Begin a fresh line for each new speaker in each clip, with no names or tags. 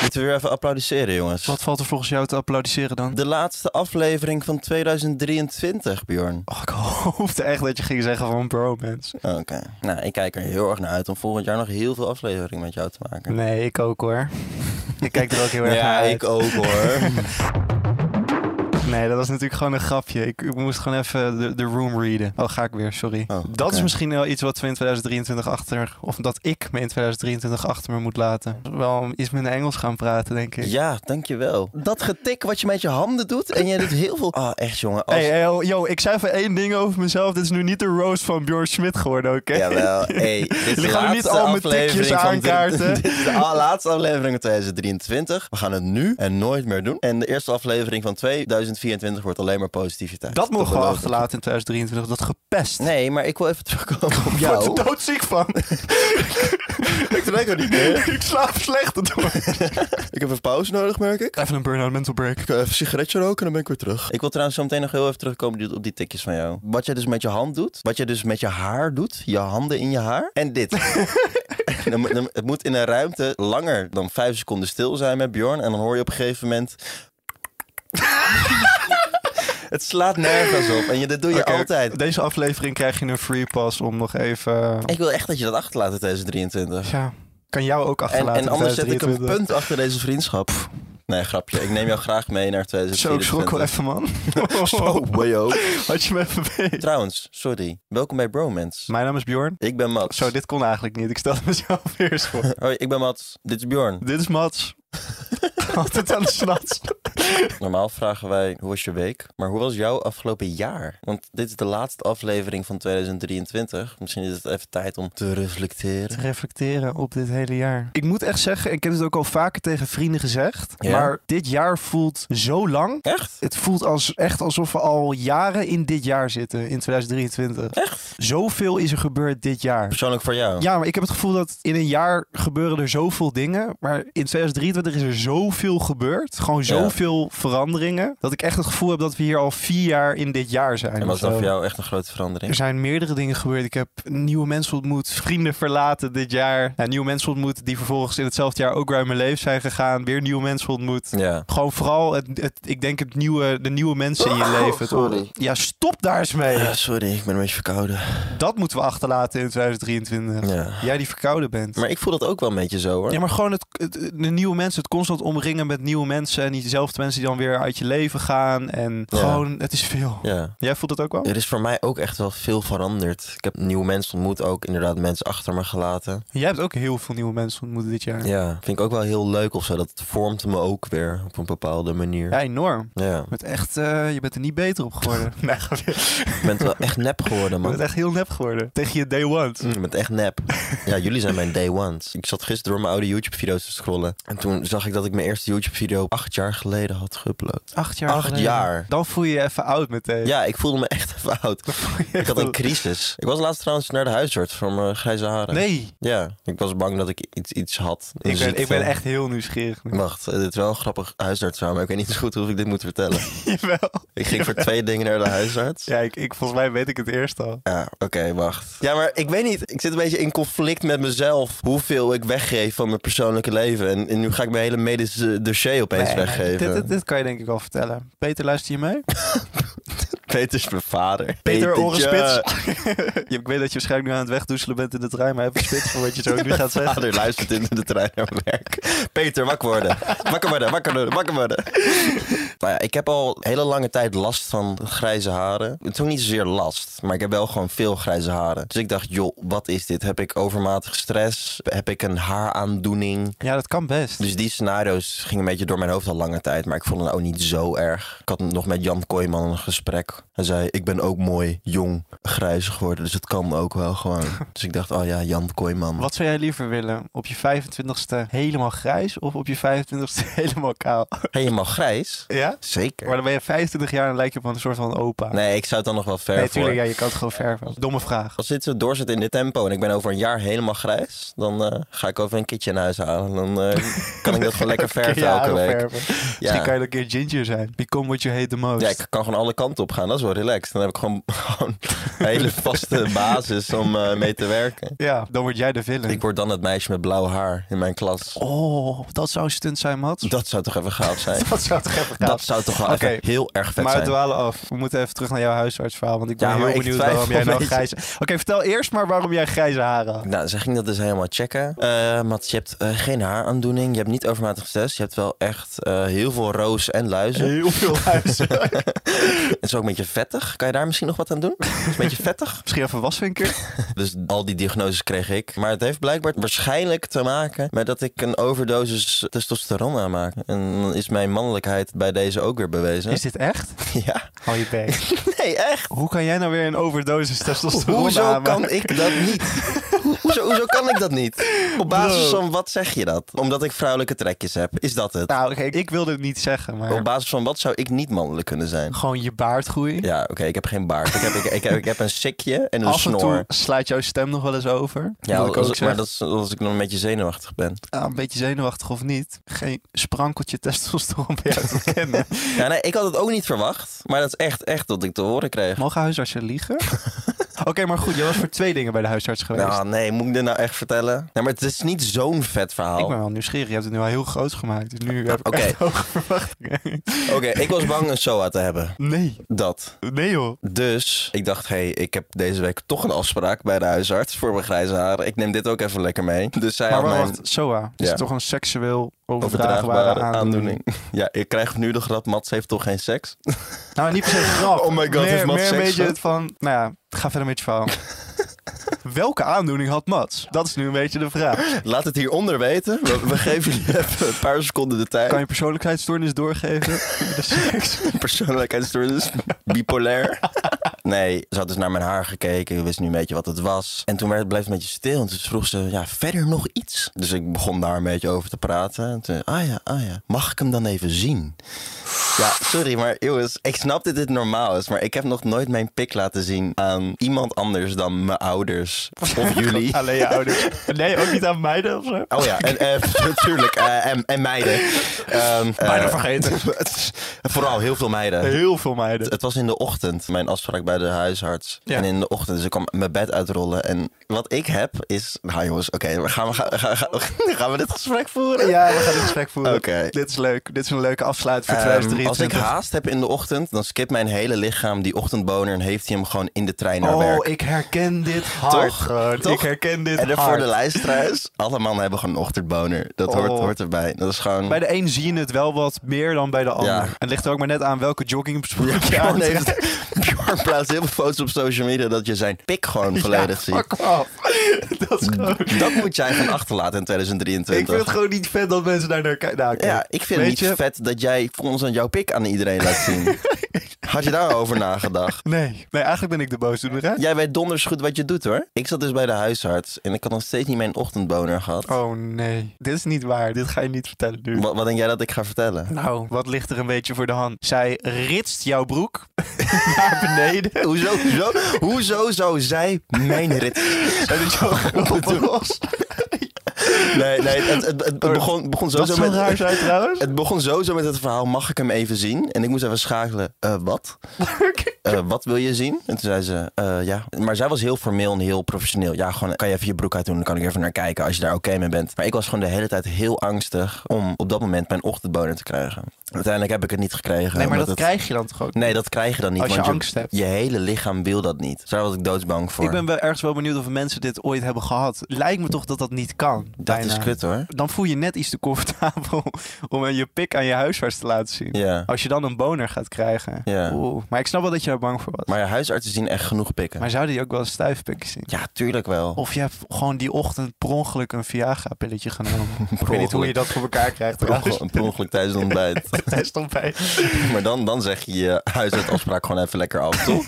Moeten we weer even applaudisseren, jongens.
Wat valt er volgens jou te applaudisseren dan?
De laatste aflevering van 2023, Bjorn.
Oh, ik hoopte echt dat je ging zeggen van bro, mensen.
Oké. Nou, ik kijk er heel erg naar uit om volgend jaar nog heel veel afleveringen met jou te maken.
Nee, ik ook hoor. ik kijk er ook heel erg
ja,
naar uit.
ik ook hoor.
Nee, dat was natuurlijk gewoon een grapje. Ik, ik moest gewoon even de, de room readen. Oh, ga ik weer, sorry.
Oh,
dat
oké.
is misschien wel iets wat we in 2023 achter... Of dat ik me in 2023 achter me moet laten. Wel iets minder Engels gaan praten, denk ik.
ja, dankjewel. Dat getik wat je met je handen doet en jij doet heel veel... Ah, echt jongen. Als...
Hey, hey, yo, yo, ik zei even één ding over mezelf. Dit is nu niet de roast van Björn Schmidt geworden, oké?
Jawel, hey, dit is
Jullie
de
gaan nu niet
laatste
al mijn tikjes
aflevering van
aankaarten.
Dit, dit is de a- laatste aflevering van 2023. We gaan het nu en nooit meer doen. En de eerste aflevering van 2024 wordt alleen maar positiviteit.
Dat mogen we
beloof ik.
achterlaten in 2023. Dat gepest.
Nee, maar ik wil even terugkomen op
Ik word
jou.
er doodziek van.
Ik trek er niet meer.
ik slaap slecht door.
Ik heb even pauze nodig, merk ik.
Even een burn-out mental break.
Ik ga even een sigaretje roken en dan ben ik weer terug. Ik wil trouwens zo meteen nog heel even terugkomen die- op die tikjes van jou. Wat jij dus met je hand doet. Wat jij dus met je haar doet. Je handen in je haar. En dit. Dan moet- dan- het moet in een ruimte langer dan vijf seconden stil zijn met Bjorn. En dan hoor je op een gegeven moment... het slaat nergens op. En je, dat doe je
Oké,
altijd.
Deze aflevering krijg je een free pass om nog even...
Ik wil echt dat je dat achterlaat in 2023.
Ja, kan jou ook
En,
achterlaten.
en anders zet ik een
2023.
punt achter deze vriendschap. Nee, grapje. Ik neem jou graag mee naar
Zo, ik schrok wel
2024.
even, man.
Oh, wajo.
Had je me even mee.
Trouwens, sorry. Welkom bij Bromance.
Mijn naam is Bjorn.
Ik ben Mats.
Zo, dit kon eigenlijk niet. Ik stelde mezelf eerst voor.
Hoi, ik ben Mats. Dit is Bjorn.
Dit is Mats. Altijd aan de snats.
Normaal vragen wij, hoe was je week? Maar hoe was jouw afgelopen jaar? Want dit is de laatste aflevering van 2023. Misschien is het even tijd om te reflecteren.
reflecteren op dit hele jaar. Ik moet echt zeggen, ik heb het ook al vaker tegen vrienden gezegd.
Ja?
Maar dit jaar voelt zo lang.
Echt?
Het voelt als, echt alsof we al jaren in dit jaar zitten, in 2023.
Echt?
Zoveel is er gebeurd dit jaar.
Persoonlijk voor jou?
Ja, maar ik heb het gevoel dat in een jaar gebeuren er zoveel dingen. Maar in 2023 is er zoveel gebeurd. Gewoon zoveel veranderingen. Dat ik echt het gevoel heb dat we hier al vier jaar in dit jaar zijn.
En was
of
dat
zo.
voor jou echt een grote verandering?
Er zijn meerdere dingen gebeurd. Ik heb nieuwe mensen ontmoet, vrienden verlaten dit jaar. Ja, nieuwe mensen ontmoet die vervolgens in hetzelfde jaar ook weer uit mijn leven zijn gegaan. Weer nieuwe mensen ontmoet.
Ja.
Gewoon vooral, het, het, ik denk, het nieuwe, de nieuwe mensen in je leven. Het-
Oh, sorry.
Ja, stop daar eens mee.
Ja, Ah, sorry, ik ben een beetje verkouden.
Dat moeten we achterlaten in 2023.
Ja.
Jij die verkouden bent.
Maar ik voel dat ook wel een beetje zo hoor.
Ja, maar gewoon het, het- de nieuwe mensen, het constant omringen met nieuwe mensen. En diezelfde mensen die dan weer uit je leven gaan. En
Ja.
gewoon, het is veel.
ja.
Jij voelt het ook wel?
Er is voor mij ook echt wel veel veranderd. Ik heb nieuwe mensen ontmoet, ook inderdaad mensen achter me gelaten.
Jij hebt ook heel veel nieuwe mensen ontmoet dit jaar.
Ja, vind ik ook wel heel leuk of zo. Dat vormt me ook weer op een bepaalde manier.
Ja, enorm.
Ja.
Je bent echt, eh, je bent er niet beter op geworden. nee, grapje.
Ik ben wel echt nep geworden,
je bent
man.
echt heel nep geworden. Tegen je day one.
Ik ben echt nep. Ja, jullie zijn mijn day ones. Ik zat gisteren door mijn oude YouTube-video's te scrollen. En toen zag ik dat ik mijn eerste YouTube-video acht jaar geleden had geüpload.
Acht jaar
Acht
geleden.
jaar.
Dan voel je je even oud meteen.
Ja, ik voelde me echt even oud. Ik had een crisis. Ik was laatst trouwens naar de huisarts voor mijn grijze haren.
Nee,
Ja, ik was bang dat ik iets, iets had. Een
ik ben, ik
ziekte.
ben echt heel nieuwsgierig. nu.
Wacht, eh, dit is wel een grappig huisarts maar ik weet niet zo goed hoe ik dit moet vertellen.
Jawel.
Ik ging voor twee dingen naar de huisarts.
Ja, ik, ik, volgens mij weet ik het eerst al.
Ja, oké, wacht. Ja, maar ik weet niet. Ik zit een beetje in conflict met mezelf. Hoeveel ik weggeef van mijn persoonlijke leven. En, en nu ga ik mijn hele medische dossier opeens
Nee,
weggeven.
Dit, dit, dit kan je denk ik wel vertellen. Peter, luister je mee?
Peter is mijn vader.
Peter,
Petertje.
orenspits. Je- ik weet dat je waarschijnlijk nu aan het wegdoezelen bent in de trein, maar even spits voor wat je zo nu gaat zeggen.
Vader luistert in de trein naar werk. Peter, wakker worden. Wakker worden, wakker worden, wakker worden. Nou ja, ik heb al hele lange tijd last van grijze haren. Het is ook niet zozeer last, maar ik heb wel gewoon veel grijze haren. Dus ik dacht, joh, wat is dit? Heb ik overmatig stress? Heb ik een haaraandoening?
Ja, dat kan best.
Dus die scenario's gingen een beetje door mijn hoofd al lange tijd. Maar ik vond het ook niet zo erg. Ik had nog met Jan Kooijman een gesprek. Hij zei, ik ben ook mooi, jong, grijs geworden. Dus het kan ook wel gewoon. dus ik dacht, oh ja, Jan Kooijman.
Wat zou jij liever willen? Op je 25ste helemaal grijs of op je 25ste helemaal kaal?
Helemaal grijs?
Ja?
Zeker.
Maar dan ben je 25 jaar en lijk je op een soort van opa.
Nee, ik zou het dan nog wel ver
nee
voor.
tuurlijk, ja, je kan het gewoon verven. Domme vraag.
Als dit zo doorzet in dit tempo en ik ben over een jaar helemaal grijs... dan eh, ga ik over een kitje naar huis halen. Dan eh, kan ik dat gewoon lekker verven
Ja,
elke
heel
week.
verven. Misschien
Ja.
kan je dan een keer ginger zijn. Become what you hate the most.
ja, ik kan gewoon alle kanten op gaan aan. Dat is wel relaxed. Dan heb ik gewoon, gewoon een hele vaste basis om eh, mee te werken.
Ja, dan word jij de villain.
Ik word dan het meisje met blauw haar in mijn klas.
Oh, dat zou een stunt zijn, Mats.
Dat zou toch even gaaf zijn?
Dat zou toch even
Dat zou toch wel
Oké.
even heel erg vet
Maar we
zijn.
dwalen af. We moeten even terug naar jouw huisartsverhaal. Want ik ben
Ja, maar
heel
ik
benieuwd
twijfel
waarom jij
een
nou
beetje.
grijze... Oké, vertel eerst maar waarom jij grijze haren had.
Nou, ze ging dat dus helemaal checken. Eh Mats, je hebt eh, geen haaraandoening. Je hebt niet overmatig stress. Je hebt wel echt eh, heel veel roos en luizen.
Heel veel huizen.
Het is ook een beetje vettig. Kan je daar misschien nog wat aan doen? Het is een beetje vettig.
Misschien even wasvinker.
Dus al die diagnoses kreeg ik. Maar het heeft blijkbaar waarschijnlijk te maken met dat ik een overdosis testosteron aanmaak. En dan is mijn mannelijkheid bij deze ook weer bewezen.
Is dit echt?
Ja.
Hou je bek.
Nee, echt.
Hoe kan jij nou weer een overdosis testosteron
Hoezo
aanmaken?
kan ik dat niet? Ho- Hoezo, hoezo kan ik dat niet? Op basis
Bro.
van wat zeg je dat? Omdat ik vrouwelijke trekjes heb. Is dat het?
Nou, oké, ik- ik wilde het niet zeggen, maar...
Op basis van wat zou ik niet mannelijk kunnen zijn?
Gewoon je baardgroei.
Ja, oké, ik heb geen baard. Ik heb, ik, ik heb, ik heb een sikje en een
Af en
snor.
toe slaat jouw stem nog wel eens over.
ja,
Wil ik ook
als, maar
zeggen.
dat is als ik nog een beetje zenuwachtig ben.
Ah, een beetje zenuwachtig of niet. Geen sprankeltje testosteron bij jou te kennen.
Ja, nee, ik had het ook niet verwacht. Maar dat is echt, echt wat ik te horen kreeg.
Mogen huisartsen liegen? Oké, maar goed. Je was voor twee dingen bij de huisarts geweest.
Nou, nee, moet ik dit nou echt vertellen? Nee, maar het is niet zo'n vet
ik
verhaal.
ben wel nieuwsgierig. Je hebt het nu al heel groot gemaakt. Dus nu heb ik
Ah, Oké.
echt hoge verwachtingen.
Oké, ik was bang een SOA te hebben.
Nee.
Dat.
Nee, joh.
Dus ik dacht, hé, hey, ik heb deze week toch een afspraak bij de huisarts voor mijn grijze haren. Ik neem dit ook even lekker mee. Dus zij
Maar
had
wacht,
mijn
wacht, SOA is
Ja.
toch een seksueel overdraagbare
overdraagbare
aandoening.
aandoening. Ja, ik krijg nu de grap, Mats heeft toch geen seks?
Nou, niet per se een grap.
Oh my god,
meer,
heeft Mats
meer een
seks
beetje
gehad?
het van, nou ja, ga verder met je verhaal. Welke aandoening had Mats? Dat is nu een beetje de vraag.
Laat het hieronder weten. We, we geven jullie even een paar seconden de tijd.
Kan je persoonlijkheidsstoornis doorgeven? De seks.
persoonlijkheidsstoornis. Bipolair. Nee, ze had dus naar mijn haar gekeken. Wist nu een beetje wat het was. En toen werd het bleef het een beetje stil. En toen vroeg ze, ja, verder nog iets? Dus ik begon daar een beetje over te praten. En toen, ah ja, ah ja. Mag ik hem dan even zien? Ja, sorry, maar jongens, ik snap dat dit normaal is. Maar ik heb nog nooit mijn pik laten zien aan iemand anders dan mijn ouders. Of jullie.
Alleen je ouders. Nee, ook niet aan meiden of zo.
Oh ja, en, eh, natuurlijk. eh, en, en meiden. Ehm, eh,
Bijna vergeten.
vooral heel veel meiden.
Heel veel meiden.
Het was in de ochtend, mijn afspraak bij de huisarts.
Ja.
En in de ochtend, dus ik kwam mijn bed uitrollen. En wat ik heb is... Nou jongens, oké, we gaan, we, gaan, gaan, gaan we dit gesprek voeren?
Ja, we gaan dit gesprek voeren.
Oké.
Dit is leuk. Dit is een leuke afsluit voor
Ehm, als ik
2023.
haast heb in de ochtend, dan skipt mijn hele lichaam die ochtendboner en heeft hij hem gewoon in de trein naar werk.
oh, ik herken dit hard.
Toch?
gewoon.
Toch?
Ik herken dit
en dan voor
hard.
de luisteraars, alle mannen hebben gewoon een ochtendboner. Dat hoort,
Oh.
hoort erbij. Dat is gewoon...
Bij de een zie je het wel wat meer dan bij de ander.
Ja.
En het ligt er ook maar net aan welke jogging
Ja,
je
Bjorn,
aantrekt.
heeft, Bjorn plaatst heel veel foto's op social media dat je zijn pik gewoon volledig
ja,
ziet.
fuck off. Dat is gewoon...
Dat moet jij gaan achterlaten in
Ik
2023.
vind het gewoon niet vet dat mensen daar naar kijken. Nou, oké.
Ja, ik vind het
Weet
niet
je-
vet dat jij constant jouw pik aan iedereen laat zien. Had je daarover nagedacht?
Nee. nee, eigenlijk ben ik de boosdoener, hè?
Jij weet donders goed wat je doet hoor. Ik zat dus bij de huisarts en ik had nog steeds niet mijn ochtendboner gehad.
Oh nee, dit is niet waar. Dit ga je niet vertellen nu.
Wat, wat denk jij dat ik ga vertellen?
Nou, wat ligt er een beetje voor de hand? Zij ritst jouw broek naar beneden.
Hoezo, hoezo, hoezo zou zij mijn rit...
Zij doet jouw grote los.
Nee, nee, het, het, het begon, begon
Dat
sowieso
zou
met...
raar zijn trouwens.
Het begon sowieso met het verhaal, mag ik hem even zien? En ik moest even schakelen, eh, wat? Eh, wat wil je zien? En toen zei ze, eh, ja. Maar zij was heel formeel en heel professioneel. Ja, gewoon, kan je even je broek uit doen? Dan kan ik even naar kijken als je daar oké mee bent. Maar ik was gewoon de hele tijd heel angstig om op dat moment mijn ochtendboner te krijgen. Uiteindelijk heb ik het niet gekregen.
Nee,
omdat
maar dat
het-
krijg je dan toch ook?
Nee, dat krijg je dan niet.
Als je
want
angst hebt.
Je hele lichaam wil dat niet. Dus daar was ik doodsbang voor.
Ik ben wel ergens wel benieuwd of mensen dit ooit hebben gehad. Lijkt me toch dat dat niet kan.
dat
bijna.
is kut hoor.
Dan voel je je net iets te comfortabel om je pik aan je huisarts te laten zien.
Ja.
Als je dan een boner gaat krijgen.
Ja.
Oeh. Maar ik snap wel dat je daar bang voor was.
Maar ja, huisartsen zien echt genoeg pikken.
Maar zouden die ook wel een stuifpikje zien?
Ja, tuurlijk wel.
Of je hebt gewoon die ochtend per ongeluk een Viagra-pilletje genomen. ik weet niet hoe je
ongeluk.
dat voor elkaar krijgt.
Per ongeluk- per ongeluk tijdens het ontbijt.
bij.
Maar dan, dan zeg je je huisartsafspraak gewoon even lekker af, toch?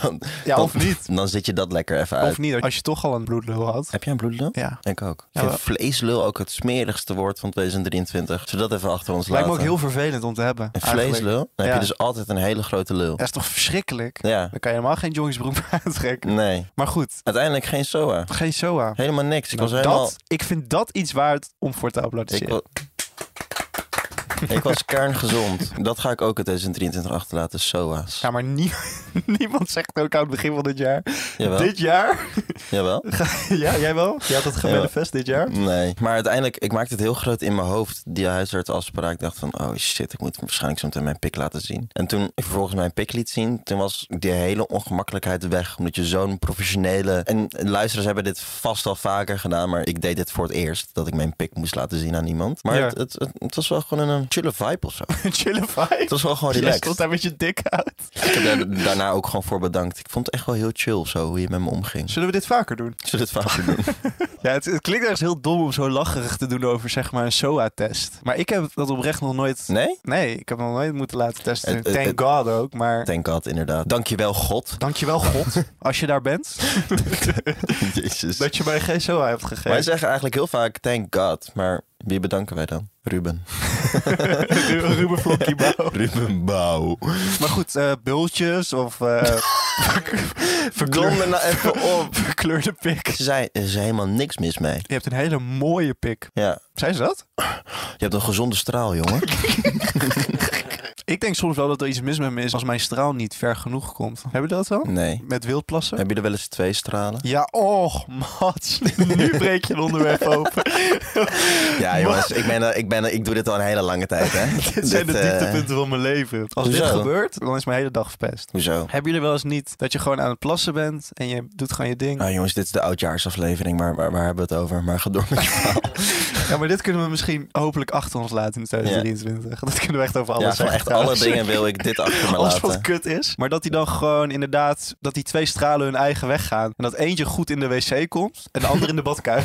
Dan,
Ja,
dan-
of niet.
Dan zit je dat lekker even uit.
Of niet, als je toch al een bloedlul had.
Heb jij een bloedlul?
Ja.
Ik ook.
Ja,
ik vind
wel.
vleeslul ook het smerigste woord van 2023. Zullen we dat even achter ons
Lijkt me ook
laten?
heel vervelend om te hebben.
Een
eigenlijk.
vleeslul? Dan heb
Ja.
je dus altijd een hele grote lul.
Dat is toch verschrikkelijk?
Ja.
Dan kan je helemaal geen jongensbroek meer aantrekken.
Nee.
Maar goed,
Uiteindelijk geen SOA.
geen SOA.
Helemaal niks. Dus Ik was
Nou,
helemaal...
dat, ik vind dat iets waard om voor te applaudisseren.
Ik wa- Ik was kerngezond. Dat ga ik ook in 2023 achterlaten, SOA's.
Ja, maar nie- niemand zegt ook aan het begin van dit jaar.
Jawel?
Dit jaar?
Jawel?
ja, jij wel? Je had het gemanifest dit jaar?
Nee. Maar uiteindelijk, ik maakte het heel groot in mijn hoofd. Die huisartsafspraak. Ik dacht van, oh shit, ik moet waarschijnlijk zo meteen mijn pik laten zien. En toen ik vervolgens mijn pik liet zien, toen was die hele ongemakkelijkheid weg. Omdat je zo'n professionele... En luisteraars hebben dit vast al vaker gedaan, maar ik deed dit voor het eerst. Dat ik mijn pik moest laten zien aan iemand. Maar
Ja.
het, het, het, het was wel gewoon een chille vibe of zo.
Een chille vibe.
Het was wel gewoon
Jij
relaxed.
stond daar met je dik uit.
Ik heb daar daarna ook gewoon voor bedankt. Ik vond het echt wel heel chill zo, hoe je met me omging.
Zullen we dit vaker doen?
Zullen we het vaker doen?
Ja, het, het klinkt ergens heel dom om zo lacherig te doen over zeg maar een SOA-test. Maar ik heb dat oprecht nog nooit...
Nee?
Nee, ik heb nog nooit moeten laten testen.
Het- het-
Thank
het-
God ook, maar...
Thank God, inderdaad. Dankjewel, God.
Dankjewel God, als je daar bent,
Jezus.
dat je mij geen SOA hebt
Wij
gegeven.
zeggen eigenlijk heel vaak thank God, maar wie bedanken wij dan? Ruben.
Ru- Ruben Flokkiebouw.
Ruben Bouw.
Maar goed, eh, bultjes of eh
Verklom me nou even op.
verkleurde pik.
Ze zei, er is helemaal niks mis mee.
Je hebt een hele mooie pik.
Ja,
Zijn ze dat?
je hebt een gezonde straal, jongen.
Ik denk soms wel dat er iets mis met me is als mijn straal niet ver genoeg komt. Hebben jullie dat wel?
Nee.
Met wildplassen?
Heb je er wel eens twee stralen?
Ja, och, Mats. Nu breek je een onderwerp open.
Ja, jongens, ik, ben, er- ik, ben, er- ik doe dit al een hele lange tijd, hè?
Dit zijn de
eh,
dieptepunten van mijn leven. Als dit
Hoezo?
gebeurt, dan is mijn hele dag verpest.
Hoezo?
Hebben jullie wel eens niet dat je gewoon aan het plassen bent en je doet gewoon je ding?
Nou jongens, dit is de oudjaarsaflevering, maar waar, waar hebben we het over? Maar ga door met je verhaal.
Ja, maar dit kunnen we misschien hopelijk achter ons laten in 2023. Dat kunnen we echt over alles
Ja, gewoon
zeggen.
echt alle
trouwens.
dingen wil ik dit achter me
Alles wat
laten.
kut is. Maar dat die dan gewoon inderdaad, dat die twee stralen hun eigen weg gaan. En dat eentje goed in de wc komt en de ander in de badkuip.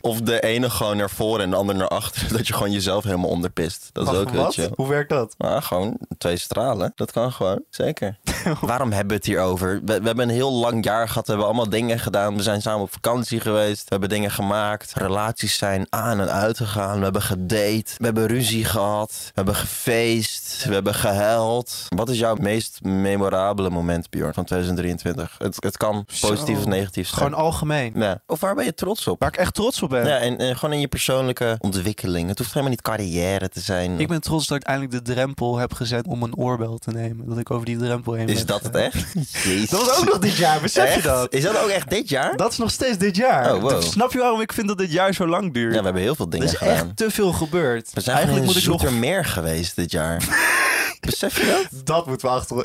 Of de ene gewoon naar voren en de ander naar achter. Dat je gewoon jezelf helemaal onderpist. Dat is
Wacht,
ook heel
wat?
chill.
Hoe werkt dat?
Maar gewoon twee stralen, dat kan gewoon, zeker. Waarom hebben we het hier over? We, we hebben een heel lang jaar gehad, we hebben allemaal dingen gedaan. We zijn samen op vakantie geweest, we hebben dingen gemaakt. Relaties zijn aan en uit gegaan, we hebben gedate, we hebben ruzie gehad, we hebben gefeest, we hebben gehuild. Wat is jouw meest memorabele moment, Bjorn, van 2023? Het, het kan positief
Zo.
of negatief zijn.
Gewoon algemeen.
Ja. Of waar ben je trots op?
Waar ik echt trots op ben.
Ja, en, en gewoon in je persoonlijke ontwikkeling. Het hoeft helemaal niet carrière te zijn.
Ik ben trots dat ik eindelijk de drempel heb gezet om een oorbel te nemen. Dat ik over die drempel heen
Is
ben
dat het
gegaan.
echt? Jezus.
Dat was ook nog dit jaar, besef
Echt?
je dat?
Is dat ook echt dit jaar?
Dat is nog steeds dit jaar.
Oh, wow.
Snap je waarom ik vind dat dit jaar zo lang duurt?
Ja, we hebben heel veel
er
dingen
is
gedaan.
echt te veel gebeurd.
We zijn
Eigenlijk moet ik nog...
er meer geweest dit jaar. Besef je dat?
Dat moeten we achter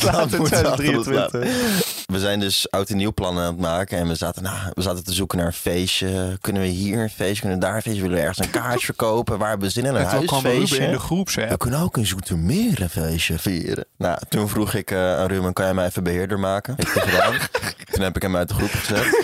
Dat
laten in
moeten we achter ons
2023.
We zijn dus oud en nieuw plannen aan het maken. En we zaten, nou, we zaten te zoeken naar een feestje. Kunnen we hier een feestje? Kunnen we daar een feestje? Willen we ergens een kaartje verkopen? Waar hebben we zin in? Een
En toen kwam Ruben in de
huisfeestje?
groep,
We kunnen ook een Zoetermeer een feestje vieren. Nou, toen vroeg ik eh, aan Ruben, kan jij mij even beheerder maken? Heeft hij gedaan. toen heb ik hem uit de groep gezet.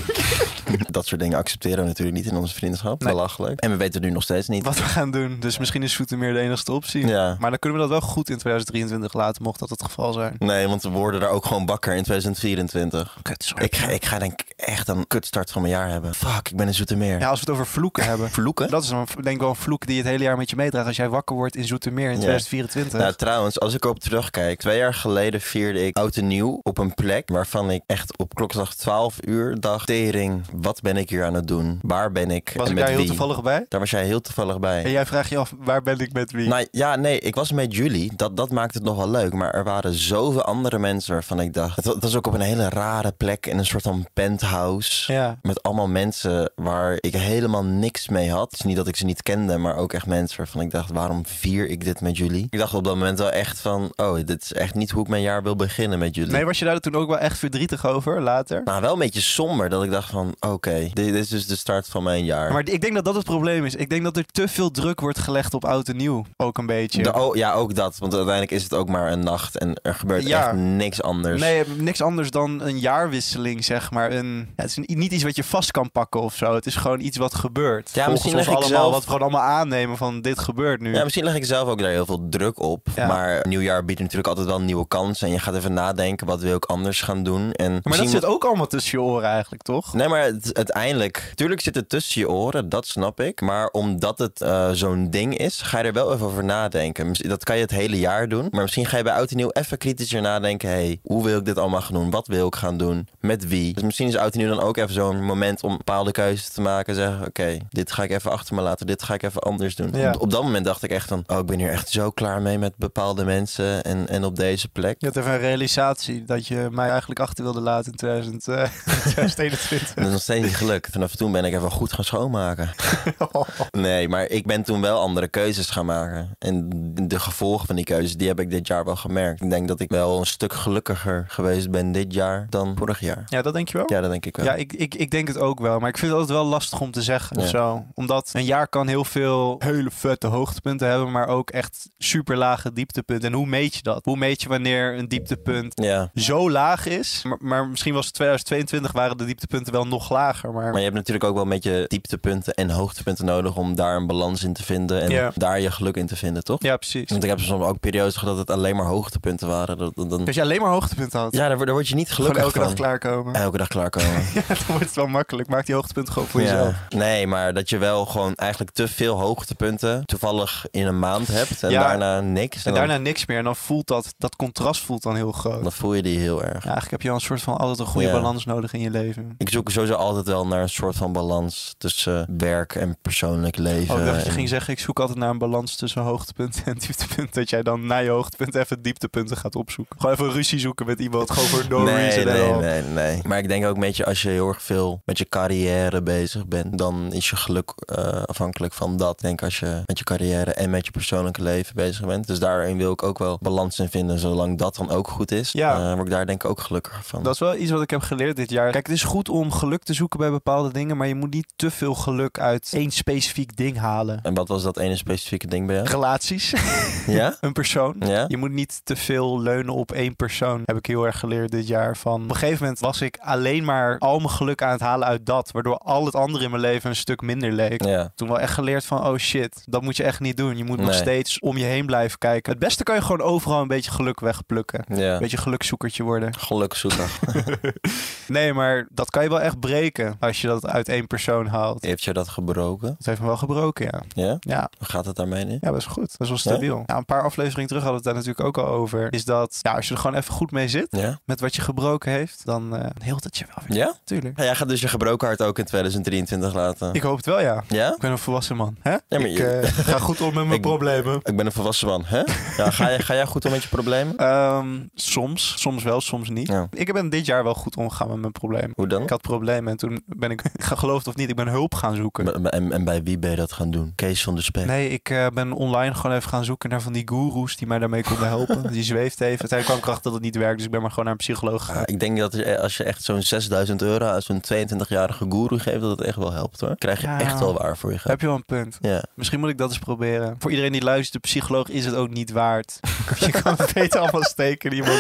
Dat soort dingen accepteren we natuurlijk niet in onze vriendschap.
Nee.
Belachelijk. En we weten het nu nog steeds niet.
wat we gaan doen. Dus misschien is Zoetermeer de enige optie.
Ja.
Maar dan kunnen we dat wel goed in 2023 laten, mocht dat het geval zijn.
Nee, want we worden daar ook gewoon bakker in 2024.
Kut, sorry.
Ik ga, ik ga denk ik echt een kutstart van mijn jaar hebben. Fuck, ik ben in Zoetermeer.
Ja, als we het over vloeken hebben.
Vloeken?
Dat is een, denk ik wel een vloek die je het hele jaar met je meedraagt als jij wakker wordt in Zoetermeer in
Ja.
2024.
Nou, trouwens, als ik erop terugkijk. Twee jaar geleden vierde ik oud en nieuw op een plek waarvan ik echt op klokslag 12 uur dacht... Tering, wat ben ik hier aan het doen? Waar ben ik?
Was
en
ik
met
daar heel
wie?
toevallig bij?
Daar was jij heel toevallig bij.
En jij vraagt je af, waar ben ik met wie?
Nou ja, nee, ik was met jullie. Dat, dat maakt het nog wel leuk. Maar er waren zoveel andere mensen waarvan ik dacht... Het, wa- het was ook op een hele rare plek in een soort van penthouse.
ja.
met allemaal mensen waar ik helemaal niks mee had. Het is niet dat ik ze niet kende, maar ook echt mensen waarvan ik dacht, waarom vier ik dit met jullie? Ik dacht op dat moment wel echt van, oh, dit is echt niet hoe ik mijn jaar wil beginnen met jullie.
Nee, was je daar toen ook wel echt verdrietig over, later?
Maar wel een beetje somber dat ik dacht van, oké, dit, dit is dus de start van mijn jaar.
Maar ik denk dat dat het probleem is. Ik denk dat er te veel druk wordt gelegd op oud en nieuw. Ook een beetje.
De- oh, ja, ook dat. Want uiteindelijk is het ook maar een nacht en er gebeurt
Ja.
echt niks anders.
Nee, niks anders dan een jaarwisseling, zeg maar. Een, ja, het is een- niet iets wat je vast kan pakken of zo. Het is gewoon iets wat gebeurt.
Ja,
Volgens
misschien leg
ons
ik
allemaal,
zelf-
wat we gewoon allemaal aannemen van dit gebeurt nu.
Ja, misschien leg ik zelf ook daar heel veel druk op.
Ja.
Maar nieuwjaar biedt natuurlijk altijd wel nieuwe kansen. En je gaat even nadenken, wat wil ik anders gaan doen? En
maar
misschien
dat zit ook allemaal tussen je oren eigenlijk, toch?
Nee, maar het- uiteindelijk, tuurlijk zit het tussen je oren, dat snap ik. Maar omdat het eh, zo'n ding is, ga je er wel even over nadenken. Misschien- Dat kan je het hele jaar doen. Maar misschien ga je bij oud en nieuw even kritischer nadenken. hey, hoe wil ik dit allemaal gaan doen? Wat wil wil ik gaan doen? Met wie? Dus misschien is oud en nieuw dan ook even zo'n moment om bepaalde keuzes te maken. Zeggen, oké, dit ga ik even achter me laten. Dit ga ik even anders doen.
Ja.
Op, op dat moment dacht ik echt van, oh, ik ben hier echt zo klaar mee met bepaalde mensen en, en op deze plek.
Je had even een realisatie dat je mij eigenlijk achter wilde laten in 2000, eh, 2021.
Dat is nog steeds niet gelukt. Vanaf toen ben ik even goed gaan schoonmaken. Nee, maar ik ben toen wel andere keuzes gaan maken. En de gevolgen van die keuzes, die heb ik dit jaar wel gemerkt. Ik denk dat ik wel een stuk gelukkiger geweest ben dit jaar dan vorig jaar.
Ja, dat denk je wel?
Ja, dat denk ik wel.
Ja, ik, ik, ik denk het ook wel. Maar ik vind het altijd wel lastig om te zeggen of
Ja.
zo. Omdat een jaar kan heel veel hele vette hoogtepunten hebben, maar ook echt super lage dieptepunten. En hoe meet je dat? Hoe meet je wanneer een dieptepunt
Ja.
zo laag is? Maar, maar misschien was het 2022 waren de dieptepunten wel nog lager. Maar,
Maar je hebt natuurlijk ook wel een beetje dieptepunten en hoogtepunten nodig om daar een balans in te vinden en
Ja.
daar je geluk in te vinden, toch?
ja, precies.
Want ik heb soms ook periodes gehad dat het alleen maar hoogtepunten waren. Dat, dat- dan,
Als je alleen maar hoogtepunten had,
ja, daar, word- daar word je niet
gewoon
gelukkig
elke dag
van.
klaarkomen.
Elke dag klaarkomen.
Ja, dan wordt het wel makkelijk. Maak die hoogtepunten gewoon voor
Ja.
jezelf.
Nee, maar dat je wel gewoon eigenlijk te veel hoogtepunten toevallig in een maand hebt en
Ja.
daarna niks. dan-
En daarna niks meer. En dan voelt dat, dat contrast voelt dan heel groot.
Dan voel je die heel erg.
Ja, eigenlijk heb je al een soort van altijd een goede
Ja.
balans nodig in je leven.
Ik zoek sowieso altijd wel naar een soort van balans tussen werk en persoonlijk leven.
Oh, ik dacht dat je
En-
ging zeggen, ik zoek altijd naar een balans tussen hoogtepunten en dieptepunten. Dat jij dan na je hoogtepunt even dieptepunten gaat opzoeken. Gewoon even ruzie zoeken met iemand, gewoon voor no
Nee,
reason at
nee,
all.
nee, nee. Maar ik denk ook met je, als je heel erg veel met je carrière bezig bent, dan is je geluk eh, afhankelijk van dat. Ik denk als je met je carrière en met je persoonlijke leven bezig bent. Dus daarin wil ik ook wel balans in vinden, zolang dat dan ook goed is.
Ja.
Eh, word ik daar denk ik ook gelukkiger van.
Dat is wel iets wat ik heb geleerd dit jaar. Kijk, het is goed om geluk te zoeken bij bepaalde dingen, maar je moet niet te veel geluk uit één specifiek ding halen.
En wat was dat ene specifieke ding bij jou?
Relaties,
Ja?
een persoon.
Ja?
Je moet niet te veel leunen op één persoon. Heb ik heel erg geleerd dit jaar. Van op een gegeven moment was ik alleen maar al mijn geluk aan het halen uit dat. Waardoor al het andere in mijn leven een stuk minder leek.
Ja.
Toen wel echt geleerd van, oh shit, dat moet je echt niet doen. Je moet nog
Nee.
steeds om je heen blijven kijken. Het beste kan je gewoon overal een beetje geluk wegplukken.
Ja.
Een beetje gelukzoekertje worden.
Geluk zoeken.
Nee, maar dat kan je wel echt breken als je dat uit één persoon haalt.
Heeft je dat gebroken?
Dat heeft me wel gebroken, ja.
Ja?
Ja,
Hoe gaat het daarmee nu?
ja best goed. Dat is wel
Ja?
stabiel. Ja, een paar afleveringen terug hadden we het daar natuurlijk ook al over. Is dat, ja, als je er gewoon even goed mee zit,
Ja?
met wat je gebroken heeft, dan eh heelt het je wel weer.
Ja?
Tuurlijk.
Ja, Jij gaat dus je gebroken hart ook in 2023 laten.
Ik hoop het wel, ja.
Ja?
Ik ben een volwassen man. Hè?
maar
ik
je-
eh, ga goed om met mijn
Ik-
problemen.
Ik ben een volwassen man, hè? Ja, ga, jij, ga jij goed om met je problemen?
Ehm, soms, soms wel, soms niet.
Ja.
Ik ben dit jaar wel goed omgegaan met mijn problemen.
Hoe dan?
Ik had problemen en toen ben ik, geloof het of niet, ik ben hulp gaan zoeken.
En, en- en bij wie ben je dat gaan doen? Kees van de Spek.
Nee, ik eh, ben online gewoon even gaan zoeken naar van die goeroes die mij daarmee konden helpen. Die zweeft even. Uiteindelijk kwam ik erachter dat het niet werkt, dus ik ben maar gewoon naar een psycholoog
Ah,
gegaan.
ik denk dat je- als je echt zo'n 6000 euro aan zo'n 22-jarige guru geeft, dat het echt wel helpt hoor. Krijg je
Ja.
echt wel waar voor je geld.
Heb je wel een punt?
Ja.
Misschien moet ik dat eens proberen. Voor iedereen die luistert, psycholoog is het ook niet waard. Je kan het beter allemaal steken in iemand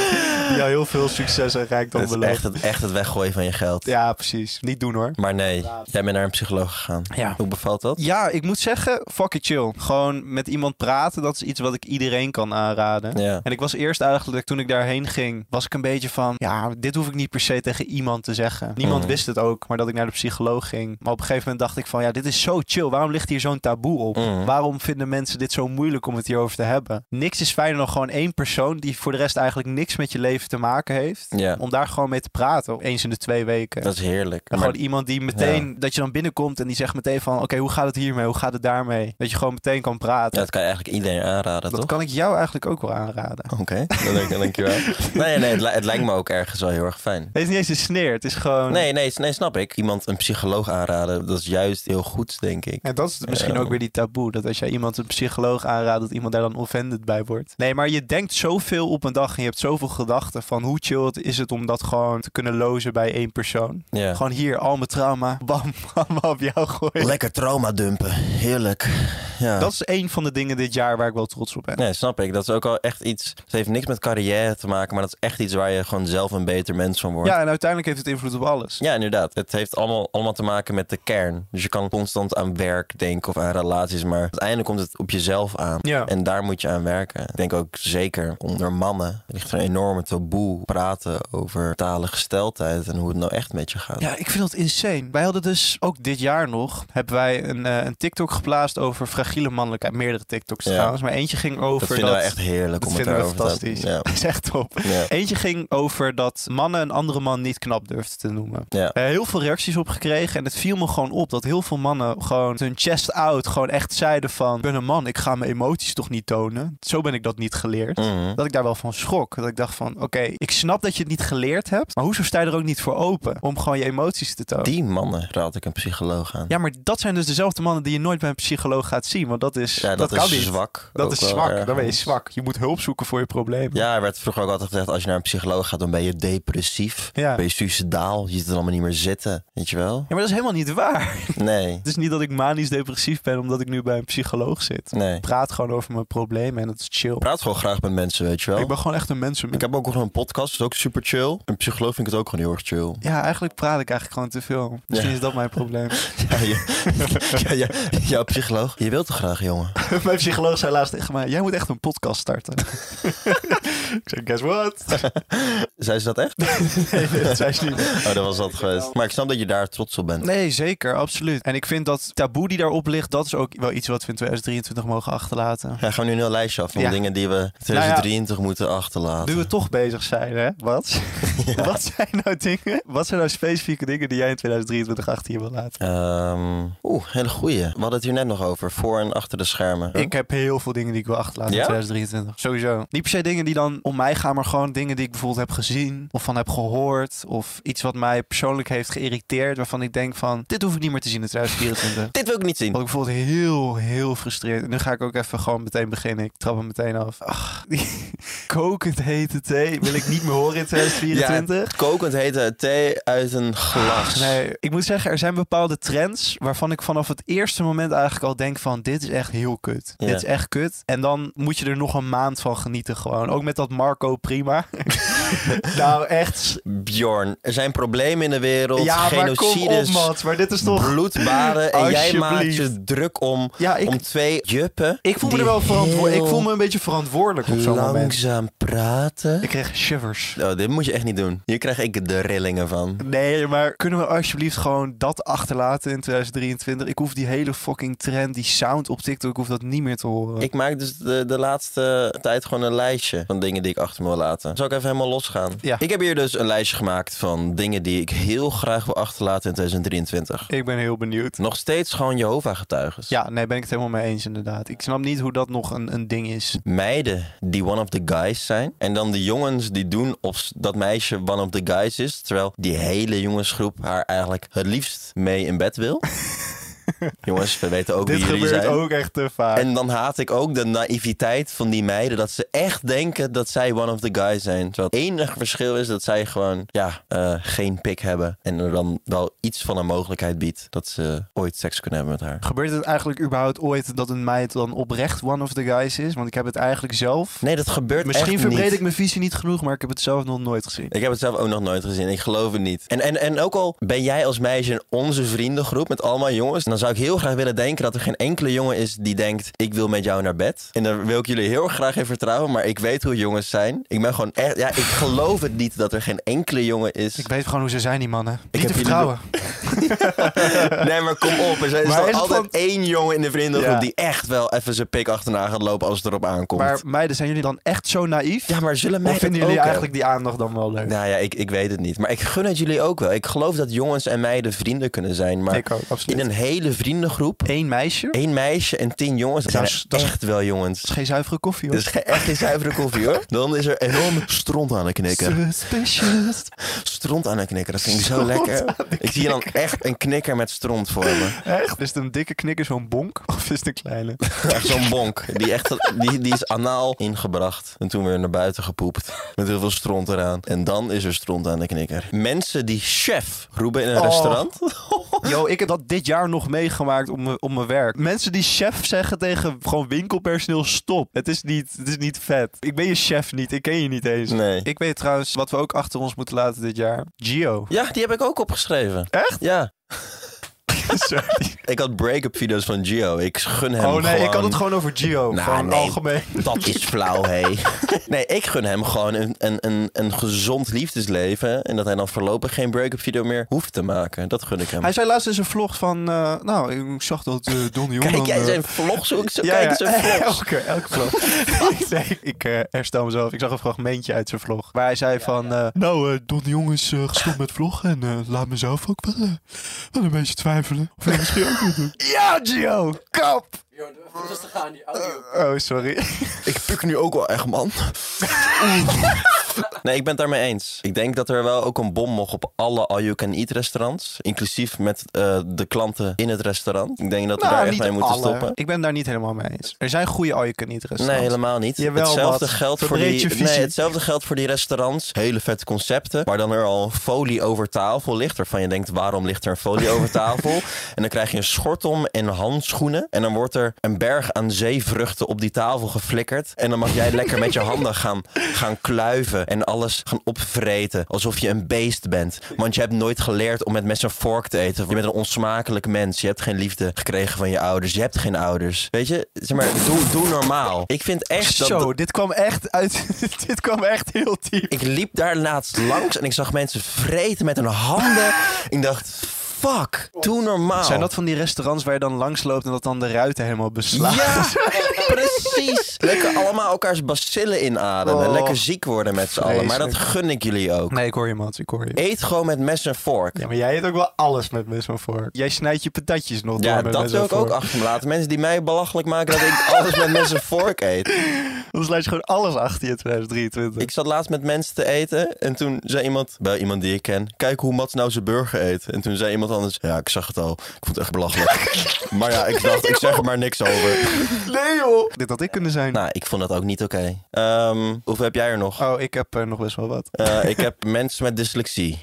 die jou heel veel succes en rijkdom
Dat is echt
belooft.
het, echt het weggooien van je geld.
Ja, precies. Niet doen hoor.
Maar nee, jij bent naar een psycholoog gegaan.
Ja.
Hoe bevalt dat?
Ja, ik moet zeggen, fuck it chill. Gewoon met iemand praten, dat is iets wat ik iedereen kan aanraden.
Ja.
En ik was eerst eigenlijk, toen ik daarheen ging, was ik een beetje van... Ja, dit hoef ik niet per se tegen iemand te zeggen. Niemand
Mhm.
wist het ook, maar dat ik naar de psycholoog ging. Maar op een gegeven moment dacht ik van... Ja, dit is zo chill. Waarom ligt hier zo'n taboe op?
Mhm.
Waarom vinden mensen dit zo moeilijk om het hierover te hebben? Niks is fijner dan gewoon één persoon... die voor de rest eigenlijk niks met je leven te maken heeft.
Ja.
Om daar gewoon mee te praten, eens in de twee weken.
Dat is heerlijk.
En
Maar-
gewoon iemand die meteen, dat je dan binnenkomt en die zegt meteen van... oké, hoe gaat het hiermee? Hoe gaat het daarmee? Dat je gewoon meteen kan
ja,
praten.
dat kan je eigenlijk iedereen aanraden,
dat
toch?
kan ik jou eigenlijk ook wel aanraden.
Oké, dan denk ik- dan denk je wel. Nee, nee, het, li- het lijkt me ook ergens wel heel erg fijn.
Het is niet eens een sneer, het is gewoon...
Nee, nee, s- nee, snap ik. Iemand een psycholoog aanraden, dat is juist heel goed, denk ik.
En dat is misschien
Ja.
ook weer die taboe. Dat als jij iemand een psycholoog aanraadt, dat iemand daar dan offended bij wordt. Nee, maar je denkt zoveel op een dag en je hebt zoveel gedachten van hoe chill het is het om dat gewoon te kunnen lozen bij één persoon.
Ja.
Gewoon hier, al mijn trauma, bam, allemaal op jou gooien.
Lekker trauma dumpen, heerlijk. Ja.
Dat is één van de dingen dit jaar waar ik wel trots op ben.
Nee, snap ik. Dat is ook al echt iets. Het heeft niks met carrière te maken, maar dat is echt iets waar je gewoon zelf een beter mens van wordt.
Ja, en uiteindelijk heeft het invloed op alles.
Ja, inderdaad. Het heeft allemaal, allemaal te maken met de kern. Dus je kan constant aan werk denken of aan relaties, maar uiteindelijk komt het op jezelf aan.
Ja.
En daar moet je aan werken. Ik denk ook zeker onder mannen ligt er een enorme taboe praten over talen gesteldheid en hoe het nou echt met je gaat.
Ja, ik vind dat insane. Wij hadden dus ook dit jaar nog, hebben wij een, eh, een TikTok geplaatst over frag- fragiele mannelijkheid. Meerdere TikToks
Ja.
trouwens. Maar eentje ging over
Dat vinden
dat...
wij echt heerlijk
dat
om het
vinden we
daarover te hebben.
fantastisch.
Ja.
Dat is echt top.
Ja.
Eentje ging over dat mannen een andere man niet knap durfden te noemen.
Ja.
Eh, heel veel reacties op gekregen en het viel me gewoon op dat heel veel mannen gewoon hun chest out gewoon echt zeiden van... Ik ben een man, ik ga mijn emoties toch niet tonen. Zo ben ik dat niet geleerd.
Mhm.
Dat ik daar wel van schrok. Dat ik dacht van, oké, ik snap dat je het niet geleerd hebt. Maar hoezo sta je er ook niet voor open om gewoon je emoties te tonen?
Die mannen raad ik een psycholoog aan.
Ja, maar dat zijn dus dezelfde mannen die je nooit bij een psycholoog gaat zien. Want dat is,
Ja,
dat, kan
is
niet.
zwak.
Dat
ook
is
wel
zwak. Dan ben je
ergens.
zwak. Je moet hulp zoeken voor je problemen.
Ja, er werd vroeger ook altijd gezegd, als je naar een psycholoog gaat, dan ben je depressief.
Ja.
Ben je suicidaal, je ziet het allemaal niet meer zitten, weet je wel?
Ja, maar dat is helemaal niet waar.
Nee,
Het is niet dat ik manisch depressief ben omdat ik nu bij een psycholoog zit.
nee.
Ik praat gewoon over mijn problemen en dat is chill.
Ik praat gewoon graag met mensen, weet je wel?
Ik ben gewoon echt een mensenmens.
Ik heb ook nog een podcast, dat is ook super chill. Een psycholoog vind ik het ook gewoon heel erg chill.
Ja, eigenlijk praat ik eigenlijk gewoon te veel. Misschien is dat mijn probleem.
Ja, je- ja, ja, jouw psycholoog. Je wilt toch graag, jongen?
mijn psycholoog zei laatst tegen mij, jij moet echt een podcast starten. ik zei, guess what?
Zei ze dat echt?
Nee, nee, dat zei ze niet.
Oh, dat was dat geweest. Maar ik snap dat je daar trots op bent.
Nee, zeker, absoluut. En ik vind dat taboe die daarop ligt, dat is ook wel iets wat we in 2023 mogen achterlaten.
Ja, gaan we nu een heel lijstje af van
Ja.
dingen die we 2023 moeten achterlaten.
Nu we toch bezig zijn, hè? Wat? Wat zijn nou dingen? Wat zijn nou specifieke dingen die jij in 2023 achter je wil laten?
Ehm, Oeh, hele goeie. We hadden het hier net nog over, voor en achter de schermen.
Ik heb heel veel dingen die ik wil achterlaten
Ja?
in 2023. Sowieso. Niet per se dingen die dan om mij gaan, maar gewoon dingen die ik bijvoorbeeld heb gezien of van heb gehoord. Of iets wat mij persoonlijk heeft geïrriteerd, waarvan ik denk van, dit hoef ik niet meer te zien in 2024.
Dit wil ik niet zien.
Wat ik bijvoorbeeld heel, heel frustreerd. En nu ga ik ook even gewoon meteen beginnen. Ik trap hem meteen af. Ach, die kokend hete thee wil ik niet meer horen in 2024.
Ja, kokend hete thee uit een glas.
Nee, ik moet zeggen, er zijn bepaalde trends waarvan ik vanaf het eerste moment eigenlijk al denk van dit is echt heel kut.
Ja.
Dit is echt kut. En dan moet je er nog een maand van genieten gewoon. Ook met dat Marco Prima. nou echt.
Bjorn, er zijn problemen in de wereld,
Ja, maar kom op
genocides,
Mats, maar dit is toch...
bloedbaden. En jij maakt
Alsjeblieft.
je druk om,
Ja, ik,
om twee juppen.
ik voel me
die
er wel verantwoordelijk. Ik
heel
voel me een beetje verantwoordelijk op zo'n moment.
Langzaam praten.
Ik kreeg shivers.
Oh, dit moet je echt niet doen. Hier krijg ik de rillingen van.
Nee, maar kunnen we alsjeblieft gewoon dat achterlaten in 2023? Ik hoef die hele fucking trend, die sound op TikTok, ik hoef dat niet meer te horen.
Ik maak dus de, de laatste tijd gewoon een lijstje van dingen die ik achter me wil laten. Zal ik even helemaal losgaan?
Ja.
Ik heb hier dus een lijstje gemaakt van dingen die ik heel graag wil achterlaten in 2023.
ik ben heel benieuwd.
Nog steeds gewoon Jehovah-getuigen.
Ja, nee, ben ik het helemaal mee eens inderdaad. Ik snap niet hoe dat nog een, een ding is.
meiden die one of the guys zijn. En dan de jongens die doen of s- dat meisje one of the guys is. Terwijl die hele jongensgroep haar eigenlijk het liefst mee in bed wil. Jongens, we weten ook
Dit
wie jullie
gebeurt
zijn.
ook echt te vaak.
En dan haat ik ook de naïviteit van die meiden. Dat ze echt denken dat zij one of the guys zijn. Terwijl het enige verschil is dat zij gewoon ja, eh, geen pik hebben. En er dan wel iets van een mogelijkheid biedt dat ze ooit seks kunnen hebben met haar.
Gebeurt het eigenlijk überhaupt ooit dat een meid dan oprecht one of the guys is? Want ik heb het eigenlijk zelf...
Nee, dat gebeurt
Misschien
echt
verbreed
niet.
ik mijn visie niet genoeg, maar ik heb het zelf nog nooit gezien.
Ik heb het zelf ook nog nooit gezien. Ik geloof het niet. En, en, en ook al ben jij als meisje in onze vriendengroep met allemaal jongens. Dan zou ik heel graag willen denken dat er geen enkele jongen is die denkt: ik wil met jou naar bed. En daar wil ik jullie heel graag in vertrouwen. Maar ik weet hoe jongens zijn. Ik ben gewoon echt. Ja, ik geloof het niet dat er geen enkele jongen is.
Ik weet gewoon hoe ze zijn, die mannen. Ik
heb
te
jullie
vertrouwen.
Nee, maar kom op. Er zijn- er is
Maar
toch
is het
altijd
dan-
één jongen in de vriendengroep
Ja.
die echt wel even zijn pik achterna gaat lopen als het erop aankomt.
Maar meiden, zijn jullie dan echt zo naïef?
ja, maar zullen
Of
mij
vinden jullie eigenlijk die aandacht dan wel leuk?
Nou ja, ik, ik weet het niet. Maar ik gun het jullie ook wel. Ik geloof dat jongens en meiden vrienden kunnen zijn. Maar
ik ook, absoluut.
in een hele vriendengroep.
Eén meisje? Dat
één meisje en tien jongens. Dat zijn
Dat is- dat is-
echt wel jongens.
is geen zuivere koffie,
Dat
hoor.
is ge- echt geen zuivere koffie hoor. Dan is er enorm stront aan het knikken.
Suspicious.
Stront aan het knikken, dat vind ik zo
Stront
lekker. Ik zie dan echt een knikker met stront voor me.
Echt? Is het een dikke knikker, zo'n bonk? Of is het een kleine?
Echt zo'n bonk. Die, echt, die, die is anaal ingebracht. En toen weer naar buiten gepoept. Met heel veel stront eraan. En dan is er stront aan de knikker. Mensen die chef roepen in een
Oh.
restaurant.
Yo, ik heb dat dit jaar nog meegemaakt op mijn- op mijn werk. Mensen die chef zeggen tegen gewoon winkelpersoneel, stop. Het is, niet, het is niet vet. Ik ben je chef niet, ik ken je niet eens.
Nee.
Ik weet trouwens wat we ook achter ons moeten laten dit jaar. Gio.
Ja, die heb ik ook opgeschreven.
Echt?
Ja.
sorry.
Ik had break-up video's van Gio. Ik gun hem
Oh nee, ik had
gewoon-
het gewoon over Gio.
Nou,
gewoon
nee.
algemeen.
Dat is flauw, hé. Nee, ik gun hem gewoon een, een, een, een gezond liefdesleven. En dat hij dan voorlopig geen break-up video meer hoeft te maken. Dat gun ik hem.
Hij zei laatst in zijn vlog van... eh, nou, ik zag dat eh Don Jong...
Kijk,
dan,
jij
eh,
zijn vlog zoek. Zo kijk zijn vlogs.
elke, elke vlog. ik zeg, ik eh, herstel mezelf. Ik zag een fragmentje uit zijn vlog. Waar hij zei van... eh, nou, eh, Don de Jong is eh, gestopt met vloggen. En eh, laat mezelf ook wel, eh, wel een beetje twijfelen. Of ik dat misschien ook moet doen. Ja, Gio! Kap!
Yo, doe even rustig aan, die audio.
Oh, sorry.
Ik puk nu ook wel echt, man. Nee, ik ben het daarmee eens. Ik denk dat er wel ook een bom mocht op alle all-you-can-eat restaurants. Inclusief met eh, de klanten in het restaurant. Ik denk dat we daar echt mee moeten stoppen.
Nou, Ik ben daar niet helemaal mee eens. Er zijn goede all you can eat
Nee,
restaurants.
helemaal niet.
Jawel,
hetzelfde,
Mats.
geldt voor
Verbreed je
die, nee,
visie.
hetzelfde geldt voor die restaurants. Hele vette concepten. Waar dan er al een folie over tafel ligt. Waarvan je denkt, waarom ligt er een folie over tafel? En dan krijg je een schort om en handschoenen. En dan wordt er een berg aan zeevruchten op die tafel geflikkerd. En dan mag jij lekker met je handen gaan, gaan kluiven. En alles gaan opvreten. Alsof je een beest bent. Want je hebt nooit geleerd om met mes en vork te eten. Je bent een onsmakelijk mens. Je hebt geen liefde gekregen van je ouders. Je hebt geen ouders. Weet je, zeg maar, doe, doe normaal. Ik vind echt dat,
Zo, dit kwam echt uit... dit kwam echt heel diep.
ik liep daar laatst langs en ik zag mensen vreten met hun handen. Ik dacht, fuck, doe normaal.
Zijn dat van die restaurants waar je dan langs loopt en dat dan de ruiten helemaal beslaat?
Ja, precies. Lekker allemaal elkaars bacillen inademen.
Oh,
Lekker ziek worden met z'n allen. Maar dat
vreselijk.
gun ik jullie ook.
Nee, ik hoor je, Mats. Ik hoor je.
Eet gewoon met mes en vork.
Ja, maar jij eet ook wel alles met mes van voor. Jij snijdt je patatjes nog door
Ja,
met
dat
mes
wil
van
ik ook
voor.
achter me laten. Mensen die mij belachelijk maken dat ik alles met mes en vork eet.
Anders laat je gewoon alles achter je in 2023.
Ik zat laatst met mensen te eten en toen zei iemand, bij iemand die ik ken, kijk hoe Mats nou zijn burger eet. En toen zei iemand anders, ja, ik zag het al. Ik vond het echt belachelijk. maar ja, ik dacht, ik zeg er maar niks over.
Nee joh! Dit had ik kunnen zijn.
Nou, ik vond dat ook niet oké. Ehm, hoeveel heb jij er nog?
Oh, ik heb er nog best wel wat.
Eh, ik heb mensen met dyslexie.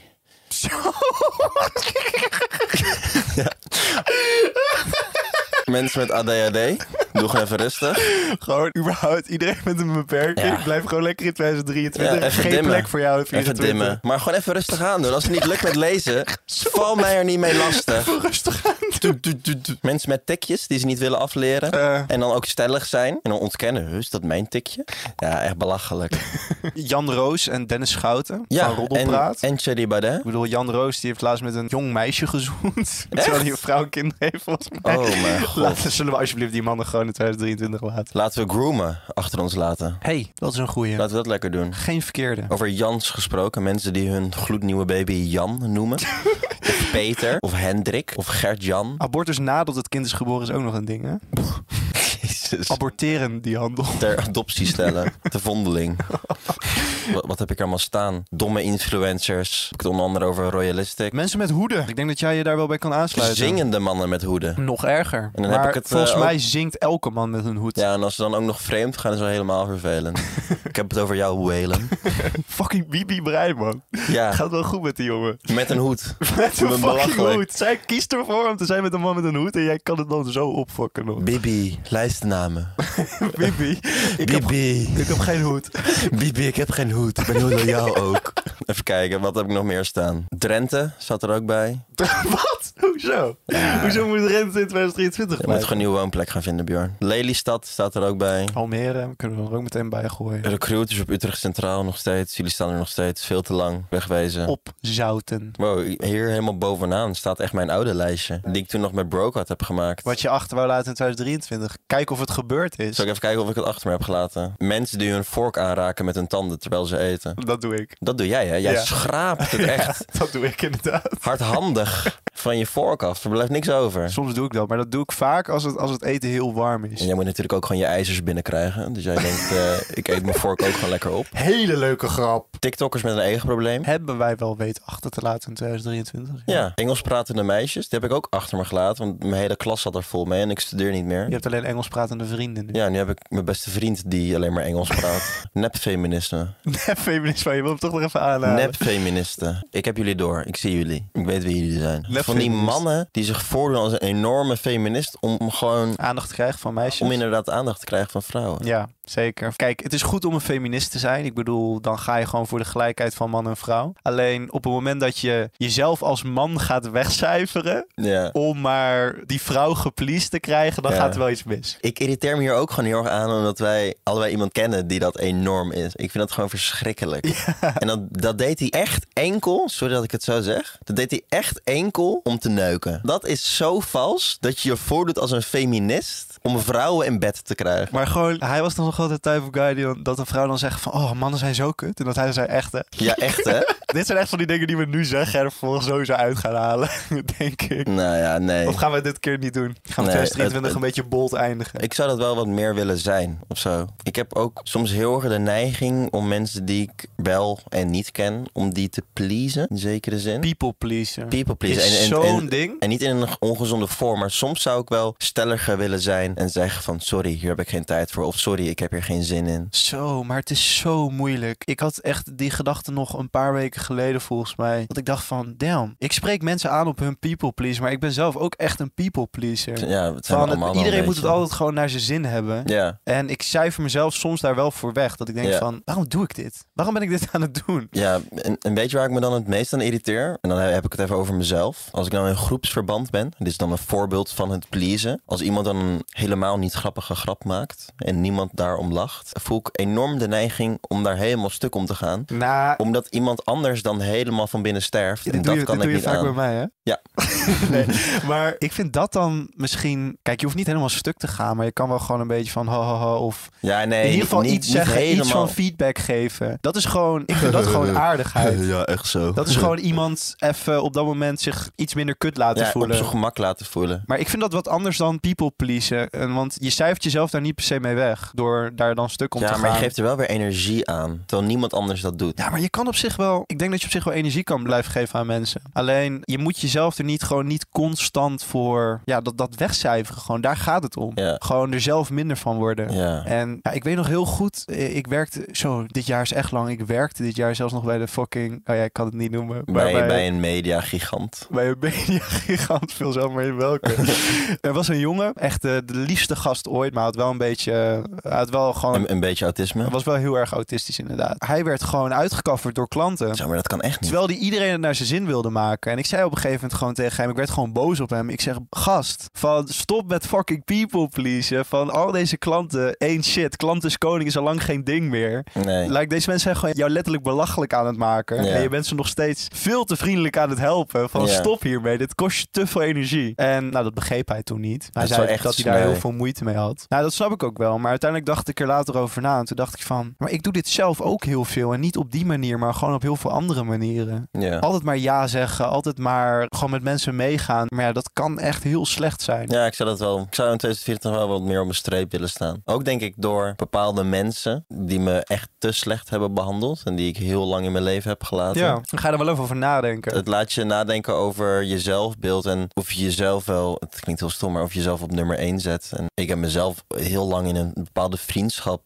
Mensen met ADHD. Doe gewoon even rustig.
gewoon überhaupt iedereen met een beperking.
Ja.
Blijf gewoon lekker in 2023.
Ja, even
Geen
dimmen.
plek voor jou in
Even
2024.
dimmen. Maar gewoon even rustig aan doen. Als het niet lukt met lezen, val mij er niet mee lastig.
Rustig aan.
Mensen met tikjes die ze niet willen afleren.
Eh.
En dan ook stellig zijn. En dan ontkennen. "Huh, Is dat mijn tikje? Ja, echt belachelijk.
Jan Roos en Dennis Schouten van
Ja, en,
Roddelpraat.
en Thierry Baudet.
Ik bedoel, Jan Roos die heeft laatst met een jong meisje gezoend. Terwijl hij een vrouw en kinderen heeft, volgens mij.
Oh mijn god.
Laten, zullen we alsjeblieft die mannen gewoon in 2023 laten.
Laten we groomen achter ons laten.
hey, dat is een goeie.
Laten we dat lekker doen.
Geen verkeerde.
Over Jans gesproken. Mensen die hun gloednieuwe baby Jan noemen. of Peter. Of Hendrik. Of Gert-Jan.
Abortus nadat het kind is geboren is ook nog een ding, hè?
Jezus.
Aborteren die handel.
Ter adoptie stellen. Ter vondeling. wat, wat heb ik er allemaal staan? Domme influencers. Ik heb het onder andere over Royalistic.
Mensen met hoeden. Ik denk dat jij je daar wel bij kan aansluiten.
Zingende mannen met hoeden.
Nog erger.
En dan
maar
heb ik het, eh,
volgens
ook-
mij zingt elke man met een hoed.
Ja, en als ze dan ook nog vreemd gaan, is dat helemaal vervelend. ik heb het over jou, Whalen.
Fucking Bibi Breiman.
Ja,
Gaat wel goed met die jongen.
met een hoed.
Met een fucking
belachelijk.
hoed. Zij kiest ervoor om te zijn met een man met een hoed. En jij kan het dan zo opfokken nog.
Bibi, lijstnamen.
Bibi. Ik heb,
Bibi,
ik heb geen hoed.
Bibi, ik heb geen hoed. Ik ben heel loyaal ook. Even kijken, wat heb ik nog meer staan? Drenthe zat er ook bij.
Wat? Hoezo? Hoezo moet Rente in 2023
Je moet
blijven?
gewoon een nieuwe woonplek gaan vinden, Bjorn. Lelystad staat er ook bij.
Almere kunnen we er ook meteen bij gooien.
Recruiters op Utrecht Centraal nog steeds. Jullie staan er nog steeds. Veel te lang. Wegwezen.
Opzouten.
Wow, hier helemaal bovenaan staat echt mijn oude lijstje. Die ik toen nog met Brokat heb gemaakt.
Wat je achter wou laten in 2023. Kijk of het gebeurd is.
Zal ik even kijken of ik het achter me heb gelaten? Mensen die hun vork aanraken met hun tanden terwijl ze eten.
Dat doe ik.
Dat doe jij, hè? Jij
Ja.
schraapt het echt
Dat doe ik inderdaad.
hardhandig van je vork af. Er blijft niks over.
Soms doe ik dat, maar dat doe ik vaak als het, als het eten heel warm
En
is.
jij moet natuurlijk ook gewoon je ijzers binnenkrijgen. Dus jij denkt, eh, ik eet mijn vork ook gewoon lekker op.
Hele leuke grap.
TikTokkers met een egenprobleem.
Hebben wij wel weten achter te laten in 2023?
Ja, Engels pratende meisjes. Die heb ik ook achter me gelaten. Want mijn hele klas zat er vol mee en ik studeer niet meer.
Je hebt alleen Engels pratende vrienden nu.
Ja, nu heb ik mijn beste vriend die alleen maar Engels praat. Nepfeministen.
Nep feminist, maar je wil hem toch nog even aanhalen.
Nepfeministen. Ik heb jullie door. Ik zie jullie. Ik weet wie jullie zijn.
Nep
van die
feminist.
mannen die zich voordoen als een enorme feminist om gewoon
Aandacht krijgt van meisjes.
om inderdaad aandacht te krijgen van vrouwen.
Ja, zeker. Kijk, het is goed om een feminist te zijn. Ik bedoel, dan ga je gewoon voor de gelijkheid van man en vrouw. Alleen op het moment dat je jezelf als man gaat wegcijferen
Ja.
om maar die vrouw gepleased te krijgen, dan
Ja.
gaat er wel iets mis.
Ik irriteer me hier ook gewoon heel erg aan, omdat wij allebei iemand kennen die dat enorm is. Ik vind dat gewoon verschrikkelijk. En dat, dat deed hij echt enkel, sorry dat ik het zo zeg, dat deed hij echt enkel om te neuken. Dat is zo vals dat je je voordoet als een feminist om vrouwen in bed te krijgen.
Maar gewoon, hij was dan nog altijd de type of guy die dan- dat een vrouw dan zegt van, oh, mannen zijn zo kut. En dat hij dan zei, echt hè.
Ja, echt hè?
Dit zijn echt van die dingen die we nu zeggen en er vervolgens sowieso uit gaan halen, denk ik.
Nou ja, nee.
Of gaan we dit keer niet doen? Gaan we
Nee,
2023
het-
een beetje bold eindigen?
Ik zou dat wel wat meer willen zijn of zo. Ik heb ook soms heel erg de neiging om mensen die ik wel en niet ken, om die te pleasen in zekere zin.
People pleaser.
People pleasen. En-
is
en- en-
zo'n ding.
En niet in een ongezonde vorm, maar soms zou ik wel stelliger willen zijn en zeggen van sorry, hier heb ik geen tijd voor. Of sorry, ik heb hier geen zin in.
Zo, maar het is zo moeilijk. Ik had echt die gedachte nog een paar weken geleden volgens mij. Dat ik dacht van, damn, ik spreek mensen aan op hun people please, maar ik ben zelf ook echt een people pleaser.
Ja, het zijn
Van
we
het-
allemaal wel een
iedereen moet het
beetje.
altijd gewoon naar zijn zin hebben.
Ja,
En ik cijfer mezelf soms daar wel voor weg. Dat ik denk
Ja.
van, waarom doe ik dit? Waarom ben ik dit aan het doen?
ja en, en weet je waar ik me dan het meest aan irriteer? En dan heb ik het even over mezelf. Als ik dan in groepsverband ben, dit is dan een voorbeeld van het pleasen. Als iemand dan een helemaal niet grappige grap maakt en niemand daarom lacht, voel ik enorm de neiging om daar helemaal stuk om te gaan
Nou,
omdat iemand anders dan helemaal van binnen sterft. en
dit
dat
doe je,
kan
dit
ik
doe je
niet
vaak
aan.
bij mij, hè?
Ja.
nee, maar ik vind dat dan misschien... Kijk, je hoeft niet helemaal stuk te gaan, maar je kan wel gewoon een beetje van ho, ho, ho of
Ja, nee.
in ieder geval
niet,
iets
niet
zeggen,
helemaal.
iets van feedback geven. Dat is gewoon, ik vind dat gewoon aardigheid.
Ja, echt zo.
Dat is gewoon iemand even op dat moment zich iets minder kut laten
ja, op
voelen.
zijn gemak laten voelen.
Maar ik vind dat wat anders dan people pleasen. En Want je cijfert jezelf daar niet per se mee weg door daar dan stuk om
ja,
te
maar
gaan.
je geeft er wel weer energie aan. Terwijl niemand anders dat doet.
Ja, maar je kan op zich wel. Ik denk dat je op zich wel energie kan blijven geven aan mensen. Alleen je moet jezelf er niet gewoon niet constant voor. Ja, dat, dat wegcijferen gewoon. Daar gaat het om.
Ja.
Gewoon er zelf minder van worden.
Ja.
En ja, ik weet nog heel goed, eh, ik werkte, zo, dit jaar is echt lang. Ik werkte dit jaar zelfs nog bij de fucking, oh ja, ik kan het niet noemen. maar
Bij, bij een media gigant.
bij een media-gigant, veel zo maar in welke. er was een jongen, echt eh, de liefste gast ooit, maar had wel een beetje, eh, had wel gewoon,
Een, een beetje autisme.
was wel heel erg autistisch inderdaad. Hij werd gewoon uitgekafferd door klanten.
Zo, maar dat kan echt niet.
Terwijl die iedereen het naar zijn zin wilde maken. En ik zei op een gegeven moment gewoon tegen hem, ik werd gewoon boos op hem. Ik zeg, gast, van stop met fucking people pleasen. Van al deze klanten, één shit. Klant is koning is al lang geen ding meer.
Nee.
Like, deze mensen zijn gewoon jou letterlijk belachelijk aan het maken.
Ja.
En je bent ze nog steeds veel te vriendelijk aan het helpen. Van
Ja.
stop hiermee, dit kost je te veel energie. En nou, dat begreep hij toen niet. Hij
is
zei
wel echt
dat hij daar
sneu.
heel veel moeite mee had. Nou, dat snap ik ook wel. Maar uiteindelijk dacht ik er later over na. En toen dacht ik van, maar ik doe dit zelf ook heel veel. En niet op die manier, maar gewoon op heel veel andere manieren.
Ja.
Altijd maar ja zeggen, altijd maar gewoon met mensen meegaan. Maar ja, dat kan echt heel slecht zijn.
Ja, ik zou dat wel. Ik zou in 2024 wel wat meer op mijn streep willen staan. Ook denk ik door bepaalde mensen die me echt te slecht hebben behandeld. En die ik heel lang in mijn leven heb gelaten.
Ja, dan ga je er wel even over nadenken.
Het laat je nadenken over je zelfbeeld en of je jezelf wel, het klinkt heel stom, maar of je jezelf op nummer 1 zet. En ik heb mezelf heel lang in een bepaalde vriendschap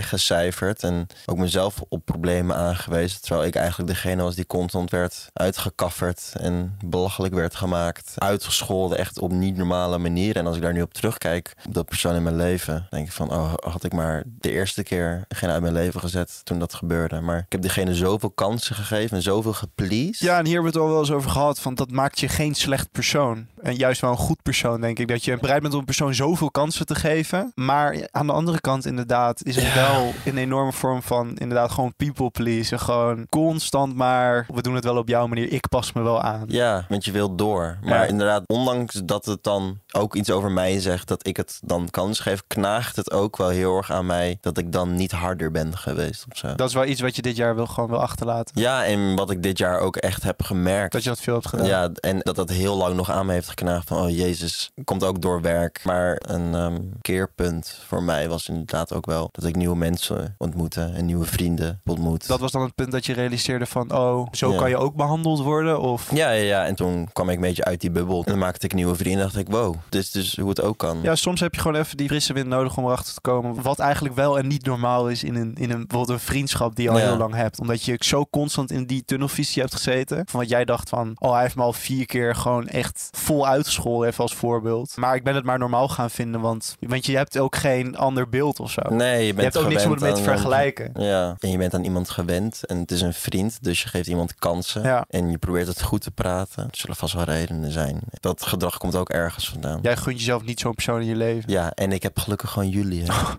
weggecijferd en ook mezelf op problemen aangewezen. Terwijl ik eigenlijk degene was die constant werd uitgekafferd en belachelijk werd gemaakt. Uitgescholden, echt op niet normale manieren. En als ik daar nu op terugkijk, op dat persoon in mijn leven, denk ik van, oh, had ik maar de eerste keer geen uit mijn leven gezet toen dat gebeurde. Maar ik heb diegene zoveel kansen gegeven en zoveel gepleased.
Ja, en hier hebben we het al wel eens over gehad. Van dat maakt je geen slecht persoon. En juist wel een goed persoon, denk ik. Dat je bereid bent om een persoon zoveel kansen te geven. Maar aan de andere kant, inderdaad, is het wel een enorme vorm van inderdaad gewoon people pleasen. Gewoon constant maar. We doen het wel op jouw manier. Ik pas me wel aan.
Ja, want je wilt door. Maar
Ja.
inderdaad, ondanks dat het dan ook iets over mij zegt, dat ik het dan kans geef, knaagt het ook wel heel erg aan mij dat ik dan niet harder ben geweest of zo.
Dat is wel iets wat je dit jaar wil, gewoon wil achterlaten.
Ja, en wat ik dit jaar ook echt heb gemerkt.
Dat je dat veel hebt gedaan.
Ja, en dat dat heel lang nog aan me heeft geknaagd van, oh jezus, komt ook door werk. Maar een ehm, keerpunt voor mij was inderdaad ook wel dat ik nieuwe mensen ontmoeten en nieuwe vrienden ontmoet.
Dat was dan het punt dat je realiseerde van, oh, zo
Ja.
kan je ook behandeld worden? Of...
Ja, ja, ja. En toen kwam ik een beetje uit die bubbel. En dan maakte ik nieuwe vrienden. En dacht ik, wow, dit is dus hoe het ook kan.
Ja, soms heb je gewoon even die frisse wind nodig om erachter te komen. Wat eigenlijk wel en niet normaal is in een, in een, bijvoorbeeld een vriendschap die je al
Ja.
heel lang hebt. Omdat je zo constant in die tunnelvisie hebt gezeten. Van wat jij dacht van, oh hij heeft me al vier keer gewoon echt vol uitgescholden, even als voorbeeld. Maar ik ben het maar normaal gaan vinden, want, want je hebt ook geen ander beeld of zo.
Nee, je bent
Oh. je hebt ook niks om
gewend
het mee te
aan- eh,
vergelijken.
Ja, en je bent aan iemand gewend en het is een vriend, dus je geeft iemand kansen.
Ja.
En je probeert het goed te praten. Er zullen vast wel redenen zijn. Dat gedrag komt ook ergens vandaan. Ja,
Jij gunt jezelf niet zo'n persoon in je leven.
en ik heb gelukkig gewoon jullie. hè.
Oh,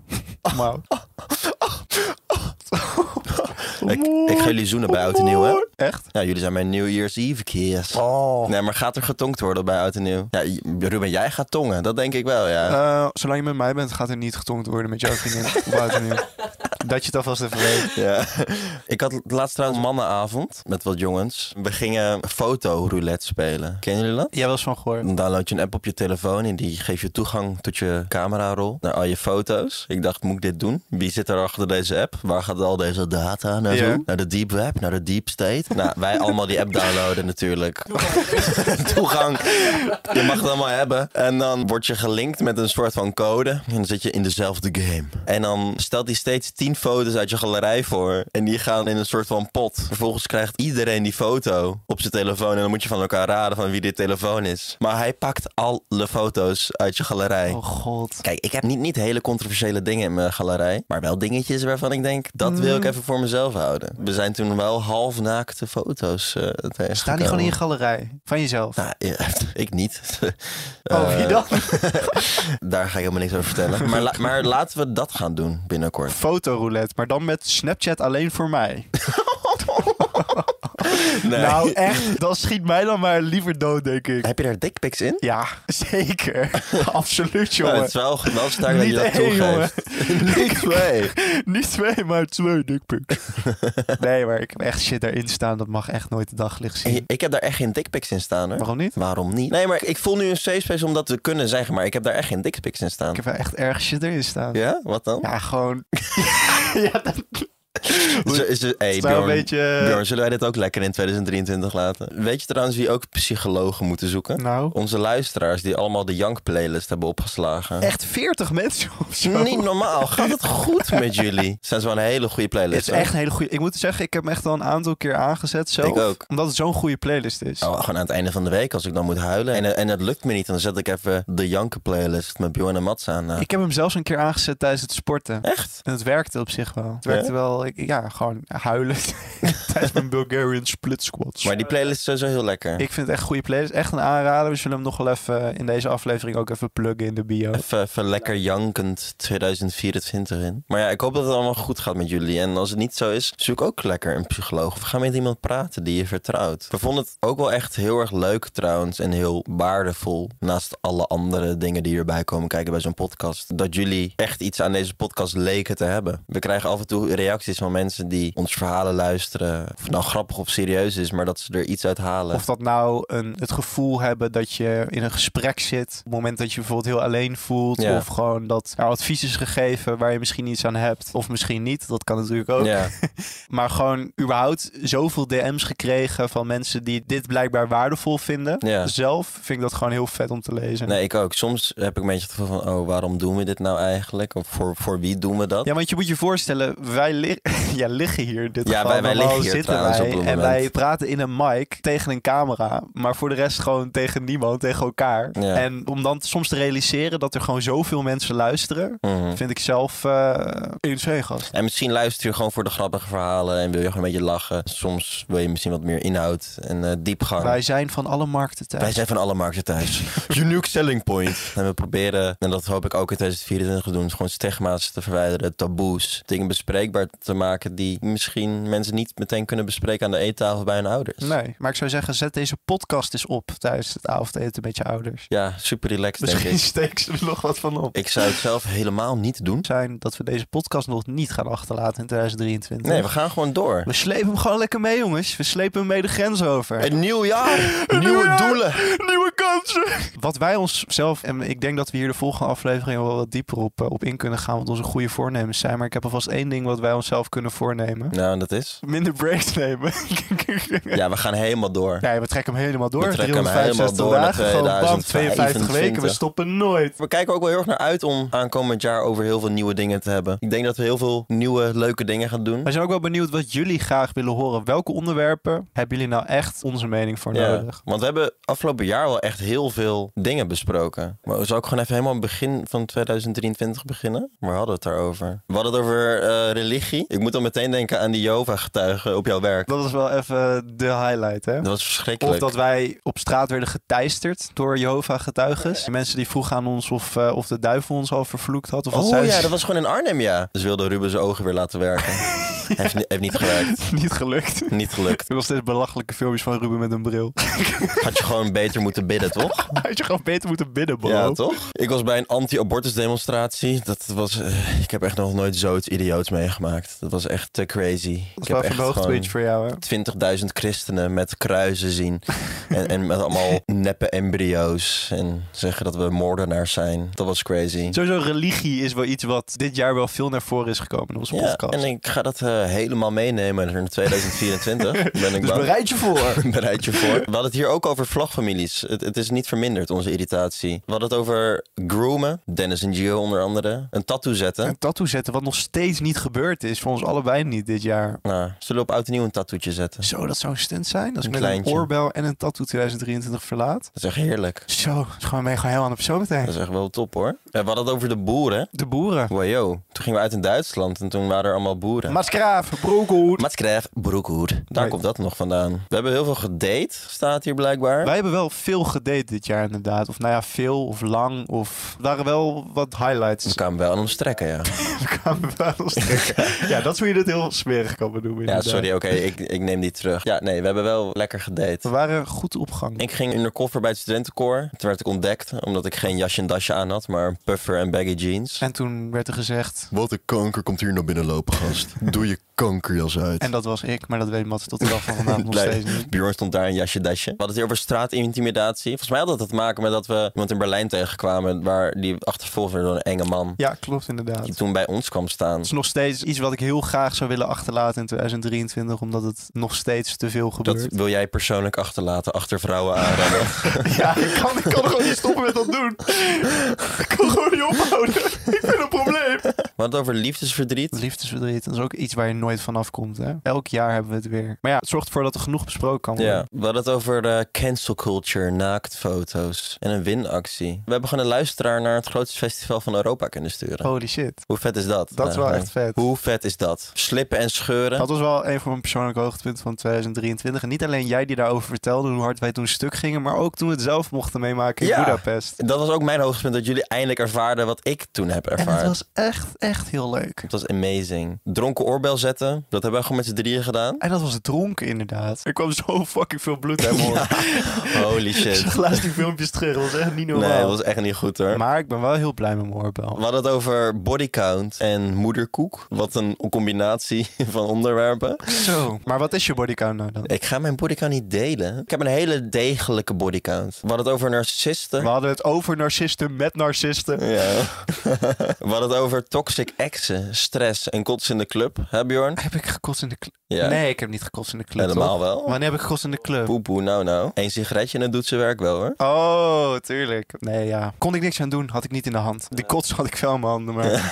Oh.
Wauw.
ik, ik ga jullie zoenen bij Oud en Nieuw, hè?
Echt?
Ja, jullie zijn mijn New Year's Eve kids.
Oh.
Nee, maar gaat er getonkt worden bij Oud en Nieuw? Ja, j- Ruben, jij gaat tongen. Dat denk ik wel, ja.
Eh, zolang je met mij bent, gaat er niet getongd worden met jouw vriendin. Buiten nu. Dat je het alvast even weet.
Ja. Ik had laatst trouwens mannenavond met wat jongens. We gingen foto-roulette spelen. Kennen jullie dat?
Jij was van gehoord.
Dan download je een app op je telefoon en die geeft je toegang tot je camerarol. Naar al je foto's. Ik dacht, moet ik dit doen? Wie zit er achter deze app? Waar gaat al deze data naartoe?
Ja.
Naar de deep web, naar de deep state. nou, wij allemaal die app downloaden natuurlijk. toegang. Je mag het allemaal hebben. En dan word je gelinkt met een soort van code. En dan zit je in dezelfde game. En dan stelt hij steeds tien foto's uit je galerij voor. En die gaan in een soort van pot. Vervolgens krijgt iedereen die foto op zijn telefoon. En dan moet je van elkaar raden van wie dit telefoon is. Maar hij pakt alle foto's uit je galerij.
Oh god.
Kijk, ik heb niet, niet hele controversiële dingen in mijn galerij. Maar wel dingetjes waarvan ik denk, dat wil
Mm.
ik even voor mezelf houden. We zijn toen wel halfnaakte foto's eh tegengekomen.
Staan die gewoon in je galerij? Van jezelf?
Nou, ja, ik niet.
oh, wie
Eh,
dan?
Daar ga ik helemaal niks over vertellen. Maar, la- maar laten we dat gaan doen binnenkort.
Fotoroulette, maar dan met Snapchat alleen voor mij.
Nee.
Nou echt, dan schiet mij dan maar liever dood, denk ik.
Heb je daar dickpics in?
Ja, zeker. Absoluut,
Ja,
jongen.
het is wel, wel sterk dat je
Niet
dat
één,
toegeeft. Niet twee.
Niet twee, maar twee dickpics. nee, maar ik heb echt shit daarin staan. Dat mag echt nooit de daglicht zien.
Ik- Ik heb daar echt geen dickpics in staan hoor.
Waarom niet?
Waarom niet? Nee, maar ik voel nu een safe space om dat te kunnen zeggen. Maar ik heb daar echt geen dickpics in staan.
Ik heb wel echt erg shit erin staan.
Ja? Wat dan?
Ja, gewoon. ja, dat
Is er- is er- hey,
is wel een
Bjorn,
beetje. eh,
Bjorn, zullen wij dit ook lekker in 2023 laten? Weet je trouwens wie ook psychologen moeten zoeken?
Nou,
Onze luisteraars die allemaal de Jank playlist hebben opgeslagen.
echt 40 mensen of zo.
Niet normaal. Gaat het goed met jullie? Zijn ze wel een hele goede
Het
playlist.
is echt een hele goede. Ik moet zeggen, ik heb hem echt al een aantal keer aangezet zelf.
Ik ook.
Omdat het zo'n goede playlist is.
hoor. Oh, gewoon aan het einde van de week als ik dan moet huilen. En, en het lukt me niet. Dan zet ik even de Janken playlist met Bjorn en Mats aan. eh.
Ik heb hem zelfs een keer aangezet tijdens het sporten.
Echt?
En het werkte op zich wel. Het werkte wel, ik, ja, gewoon huilen tijdens mijn Bulgarian split squats.
Maar die playlist is sowieso heel lekker.
Ik vind het echt een goede playlist. Echt een aanrader. We zullen hem nog wel even in deze aflevering ook even pluggen in de bio.
Even, even lekker jankend 2024 in. Maar ja, ik hoop dat het allemaal goed gaat met jullie. En als het niet zo is, zoek ook lekker een psycholoog. Of ga met iemand praten die je vertrouwt. We vonden het ook wel echt heel erg leuk trouwens. En heel waardevol. Naast alle andere dingen die hierbij komen kijken bij zo'n podcast. Dat jullie echt iets aan deze podcast leken te hebben. We krijgen af en toe reacties van mensen die ons verhalen luisteren. Of het nou grappig of serieus is, maar dat ze er iets uit halen.
Of dat nou een, het gevoel hebben dat je in een gesprek zit. Op het moment dat je bijvoorbeeld heel alleen voelt.
Ja.
Of gewoon dat er advies is gegeven waar je misschien iets aan hebt. Of misschien niet. Dat kan natuurlijk ook.
ja.
Maar gewoon überhaupt zoveel DM's gekregen van mensen die dit blijkbaar waardevol vinden.
Ja.
Zelf vind ik dat gewoon heel vet om te lezen.
Nee, ik ook. Soms heb ik een beetje het gevoel van, oh, waarom doen we dit nou eigenlijk? Of voor, voor wie doen we dat?
Ja, want je moet je voorstellen, wij li- ja, liggen hier in dit
Ja,
geval.
wij- wij
normaal
liggen hier
zitten
trouwens
wij
op het
En
moment.
wij praten in een mic tegen een camera, maar voor de rest gewoon tegen niemand, tegen elkaar.
Ja.
En om dan soms te realiseren dat er gewoon zoveel mensen luisteren,
Mhm.
vind ik zelf eh insane, gast.
En misschien luister je gewoon voor de grappige verhalen en wil je gewoon een beetje lachen. Soms wil je misschien wat meer inhoud en eh, diepgang.
Wij zijn van alle markten thuis.
Wij zijn van alle markten thuis. Unique selling point. En we proberen, en dat hoop ik ook in 2024 te doen, is gewoon stigma's te verwijderen, taboes. Dingen bespreekbaar te maken die misschien mensen niet meteen kunnen bespreken aan de eettafel bij hun ouders.
Nee, maar ik zou zeggen, zet deze podcast eens op tijdens het avondeten met je ouders.
Ja, super relaxed denk
Misschien
ik.
steek ze er nog wat van op.
Ik zou het zelf helemaal niet doen.
Zijn dat we deze podcast nog niet gaan achterlaten in 2023.
Nee, we gaan gewoon door.
We slepen hem gewoon lekker mee, jongens. We slepen hem mee de grens over.
Een nieuw jaar, nieuwe
nieuw jaar.
doelen.
nieuwe kans sponsor. Wat wij onszelf, en ik denk dat we hier de volgende aflevering wel wat dieper op, eh, op in kunnen gaan, wat onze goede voornemens zijn. Maar ik heb alvast één ding wat wij onszelf kunnen voornemen.
Nou, en dat is?
Minder breaks nemen.
Ja, we gaan helemaal door.
Nee, we trekken hem helemaal door.
We trekken hem
365
helemaal door naar
dagen, gewoon bam, 52 weken. We
2025.
stoppen nooit.
We kijken ook wel heel erg naar uit om aankomend jaar over heel veel nieuwe dingen te hebben. Ik denk dat we heel veel nieuwe, leuke dingen gaan doen.
Wij zijn ook wel benieuwd wat jullie graag willen horen. Welke onderwerpen hebben jullie nou echt onze mening voor
Ja,
nodig?
want we hebben afgelopen jaar wel echt heel veel dingen besproken. Maar zou ik gewoon even helemaal aan het begin van 2023 beginnen? Waar hadden we het daarover? We hadden het over eh, religie. Ik moet dan meteen denken aan die Jehovah-getuigen op jouw werk.
Dat is wel even de highlight, hè?
Dat was
Of
verschrikkelijk.
dat wij op straat werden geteisterd door Jehovah-getuigen. Mensen die vroegen aan ons of, eh, of de duivel ons al vervloekt had. Of wat
Oh
zij
ja, dat was gewoon in Arnhem, ja. Dus wilde Ruben zijn ogen weer laten werken. heeft, ni- heeft niet gewerkt.
niet gelukt. Er
Niet gelukt.
zijn nog steeds belachelijke filmpjes van Ruben met een bril.
Had je gewoon beter moeten bidden, toch?
Had je gewoon beter moeten bidden, bro.
Ja, toch? Ik was bij een anti-abortus demonstratie. Dat was... eh, ik heb echt nog nooit zoiets idioots meegemaakt. Dat was echt te crazy.
Dat
Ik
is
heb
wel even
echt
een hoogtepuntje voor jou, hè?
20.000 christenen met kruisen zien. En, en met allemaal neppe embryo's. En zeggen dat we moordenaars zijn. Dat was crazy.
Sowieso religie is wel iets wat dit jaar wel veel naar voren is gekomen in onze
Ja,
podcast.
en ik ga dat eh, helemaal meenemen in 2024. ben ik
dus
bang.
bereid je voor.
bereid je voor. We hadden het hier ook over vlogfamilies. Het, het is niet verminderd, onze irritatie. We hadden het over groomen. Dennis en Gio onder andere. Een tattoo zetten.
een tattoo zetten, wat nog steeds niet gebeurd is. Voor ons allebei niet dit jaar.
Nou, zullen we op oud en nieuw een tattoetje zetten?
Zo, dat zou een stunt zijn. Als ik
Een
met
kleintje.
een oorbel en een tattoo 2023 verlaat.
Dat is echt heerlijk.
Zo, dat is gewoon, ben je gewoon heel aan de persoon meteen.
Dat is echt wel top hoor. Ja, We hadden het over de boeren.
De boeren.
Wajo. Toen gingen we uit in Duitsland en toen waren er allemaal boeren.
Maaskraaf, broekhoed.
Mats Krijf, Broekhoer. Daar
Nee.
komt dat nog vandaan. We hebben heel veel gedate, staat hier blijkbaar.
Wij hebben wel veel gedate dit jaar inderdaad. Of nou ja, veel of lang. Of er waren wel wat
We
highlights.
kwamen wel aan ons trekken, ja.
We kwamen wel ons tegen. ja, dat is hoe je dit heel smerig kan
Ja,
benoemen inderdaad.
sorry, oké, ik, ik neem die terug. Ja, nee, we hebben wel lekker gedate.
We waren goed op gang.
Ik ging in de koffer bij het studentenkoor. Toen werd ik ontdekt, omdat ik geen jasje en dasje aan had, maar een puffer en baggy jeans.
En toen werd er gezegd...
Wat een kanker komt hier naar binnen lopen, gast. Doe je kankerjas uit.
En dat was ik, maar dat weet Mats tot de dag van vandaag nog
Blij-
steeds niet.
Bjorn stond daar in jasje dasje. We hadden het hier over straatintimidatie. Volgens mij had dat te maken met dat we iemand in Berlijn tegenkwamen... waar die achtervolgd werd door een enge man.
Ja, klopt inderdaad.
Die toen bij ons kwam staan.
Het is nog steeds iets wat ik heel graag zou willen achterlaten in 2023, omdat het nog steeds te veel
Dat
gebeurt.
wil jij persoonlijk achterlaten, achter vrouwen aanrennen.
Ja, ik kan, ik kan gewoon niet stoppen met dat doen. Ik kan gewoon niet ophouden. Ik ben een probleem.
We hadden het over liefdesverdriet.
Liefdesverdriet, dat is ook iets waar je nooit vanaf komt. Hè? Elk jaar hebben we het weer. Maar ja, het zorgt ervoor dat er genoeg besproken kan worden.
Ja, we hadden het over eh, cancel culture, naaktfoto's en een winactie. We hebben gewoon een luisteraar naar het grootste festival van Europa kunnen sturen.
Holy shit.
Hoe vet is dat?
Oh, Dat is wel
Nou,
echt vet.
Hoe vet is dat? Slippen en scheuren.
Dat was wel een van mijn persoonlijke hoogtepunten van 2023. En niet alleen jij die daarover vertelde hoe hard wij toen stuk gingen, maar ook toen we het zelf mochten meemaken in
Ja.
Budapest.
Dat was ook mijn hoogtepunt, dat jullie eindelijk ervaarden wat ik toen heb
En
ervaren.
het was echt, echt heel leuk.
Dat was amazing. Dronken oorbel zetten, dat hebben we gewoon met z'n drieën gedaan.
En dat was dronken inderdaad. Er kwam zo fucking veel bloed uit mijn oren.
Holy shit.
Ik laatst die filmpjes terug. Dat was echt niet
Nee, dat
normaal.
was echt niet goed hoor.
Maar ik ben wel heel blij met mijn
We
oorbel.
hadden het over bodycount en moederkoek. Wat een combinatie van onderwerpen.
Zo. Maar wat is je bodycount nou dan?
Ik ga mijn bodycount niet delen. Ik heb een hele degelijke bodycount. We hadden het over narcisten.
We hadden het over narcisten met narcisten.
Ja. We hadden het over toxic exen, stress en kots in de club. Hè Bjorn?
Heb ik gekotst in de club?
Ja.
Nee, ik heb niet gekotst in de club.
Helemaal
toch?
wel.
Wanneer heb ik gekotst in de club?
Poepoe, nou nou. Eén sigaretje en dat doet zijn werk wel hoor.
Oh, tuurlijk. Nee, ja. Kon ik niks aan doen, had ik niet in de hand. Die kots had ik wel in mijn handen, maar... Ah.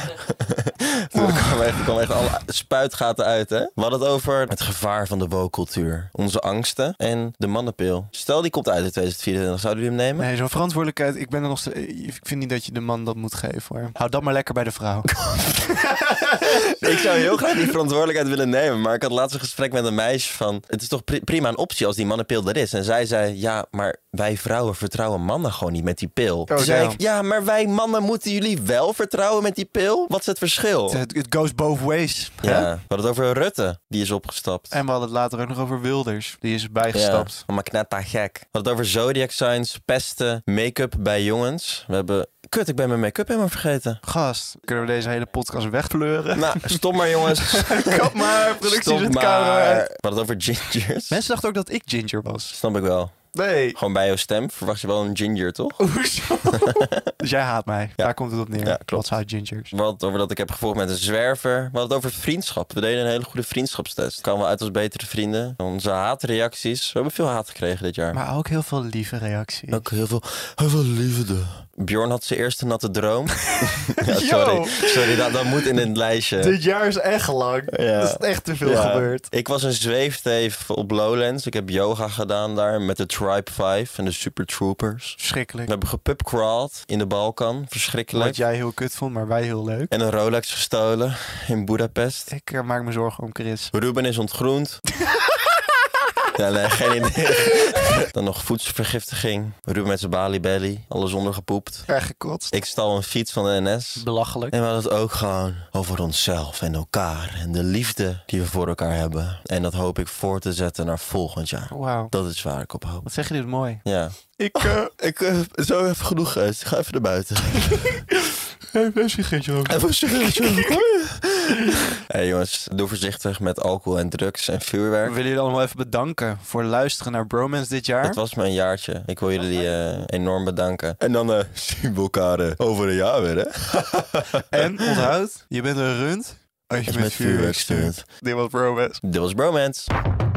Er kwam echt, er kwam echt alle spuitgaten uit, hè? We hadden het over het gevaar van de woke-cultuur. Onze angsten en de mannenpil. Stel, die komt uit in 2024. Zouden jullie hem nemen?
Nee, zo'n verantwoordelijkheid, ik ben er nog steeds... Ik vind niet dat je de man dat moet geven, hoor. Hou dat maar lekker bij de vrouw.
Ik zou heel graag die verantwoordelijkheid willen nemen. Maar ik had laatst een gesprek met een meisje van... Het is toch pri- prima een optie als die mannenpil er is. En zij zei, ja, maar wij vrouwen vertrouwen mannen gewoon niet met die pil. Toen zei
Oh, damn.
ik, ja, maar wij mannen moeten jullie wel vertrouwen met die pil? Wat is het verschil?
Het het goes both ways. hè?
Ja, we hadden het over Rutte. Die is opgestapt.
En we hadden het later ook nog over Wilders. Die is bijgestapt.
Ja, maar knatta gek. We hadden het over zodiac signs, pesten, make-up bij jongens. We hebben... Kut, ik ben mijn make-up helemaal vergeten.
Gast, kunnen we deze hele podcast wegfleuren?
Nou, stop maar jongens.
Kap maar, productie
Stop
zit
maar.
camera
We
uit.
hadden het over gingers.
Mensen dachten ook dat ik ginger was.
Snap ik wel.
Nee.
Gewoon bij jouw stem verwacht je wel een ginger, toch?
Hoezo? dus jij haat mij. Daar komt het op neer.
Ja, klopt.
Wat zou gingers?
Wat over dat ik heb gevolgd met een zwerver. We hadden het over vriendschap. We deden een hele goede vriendschapstest. Kwamen we uit als betere vrienden. Onze haatreacties. We hebben veel haat gekregen dit jaar.
Maar ook heel veel lieve reacties.
Ook heel veel, heel veel liefde. Bjorn had zijn eerste natte droom. ja,
Yo.
sorry, sorry dat, dat moet in een lijstje.
Dit jaar is echt lang.
Ja.
Er is echt te veel
Ja.
gebeurd.
Ik was een zweefteef op Lowlands. Ik heb yoga gedaan daar met de Tribe 5 en de Super Troopers. We
Verschrikkelijk.
hebben gepubcrawled in de Balkan. Verschrikkelijk.
Wat jij heel kut vond, maar wij heel leuk.
En een Rolex gestolen in Budapest.
Ik eh, maak me zorgen om Chris.
Ruben is ontgroend. ja, nee, geen idee. Dan nog voedselvergiftiging. Ruben met zijn Bali Belly. Alles ondergepoept.
Erg gekotst.
Ik stal een fiets van de NS.
Belachelijk.
En we hadden het ook gewoon over onszelf en elkaar. En de liefde die we voor elkaar hebben. En dat hoop ik voor te zetten naar volgend jaar.
Wauw.
Dat is waar ik op hoop.
Wat zeg je dit mooi.
Ja.
Ik uh,
Ik, zo even genoeg uit. ga even naar buiten.
heb een sigaretje over.
Even een hey jongens, doe voorzichtig met alcohol en drugs en
We
vuurwerk.
willen jullie allemaal even bedanken voor het luisteren naar Bromance dit jaar.
Het was mijn jaartje. Ik wil jullie eh, enorm bedanken.
En dan eh, zien we elkaar eh, over een jaar weer, hè?
En onthoud, je bent een rund als je met vuurwerk stuurt. Dit was Bromance.
Dit was Bromance.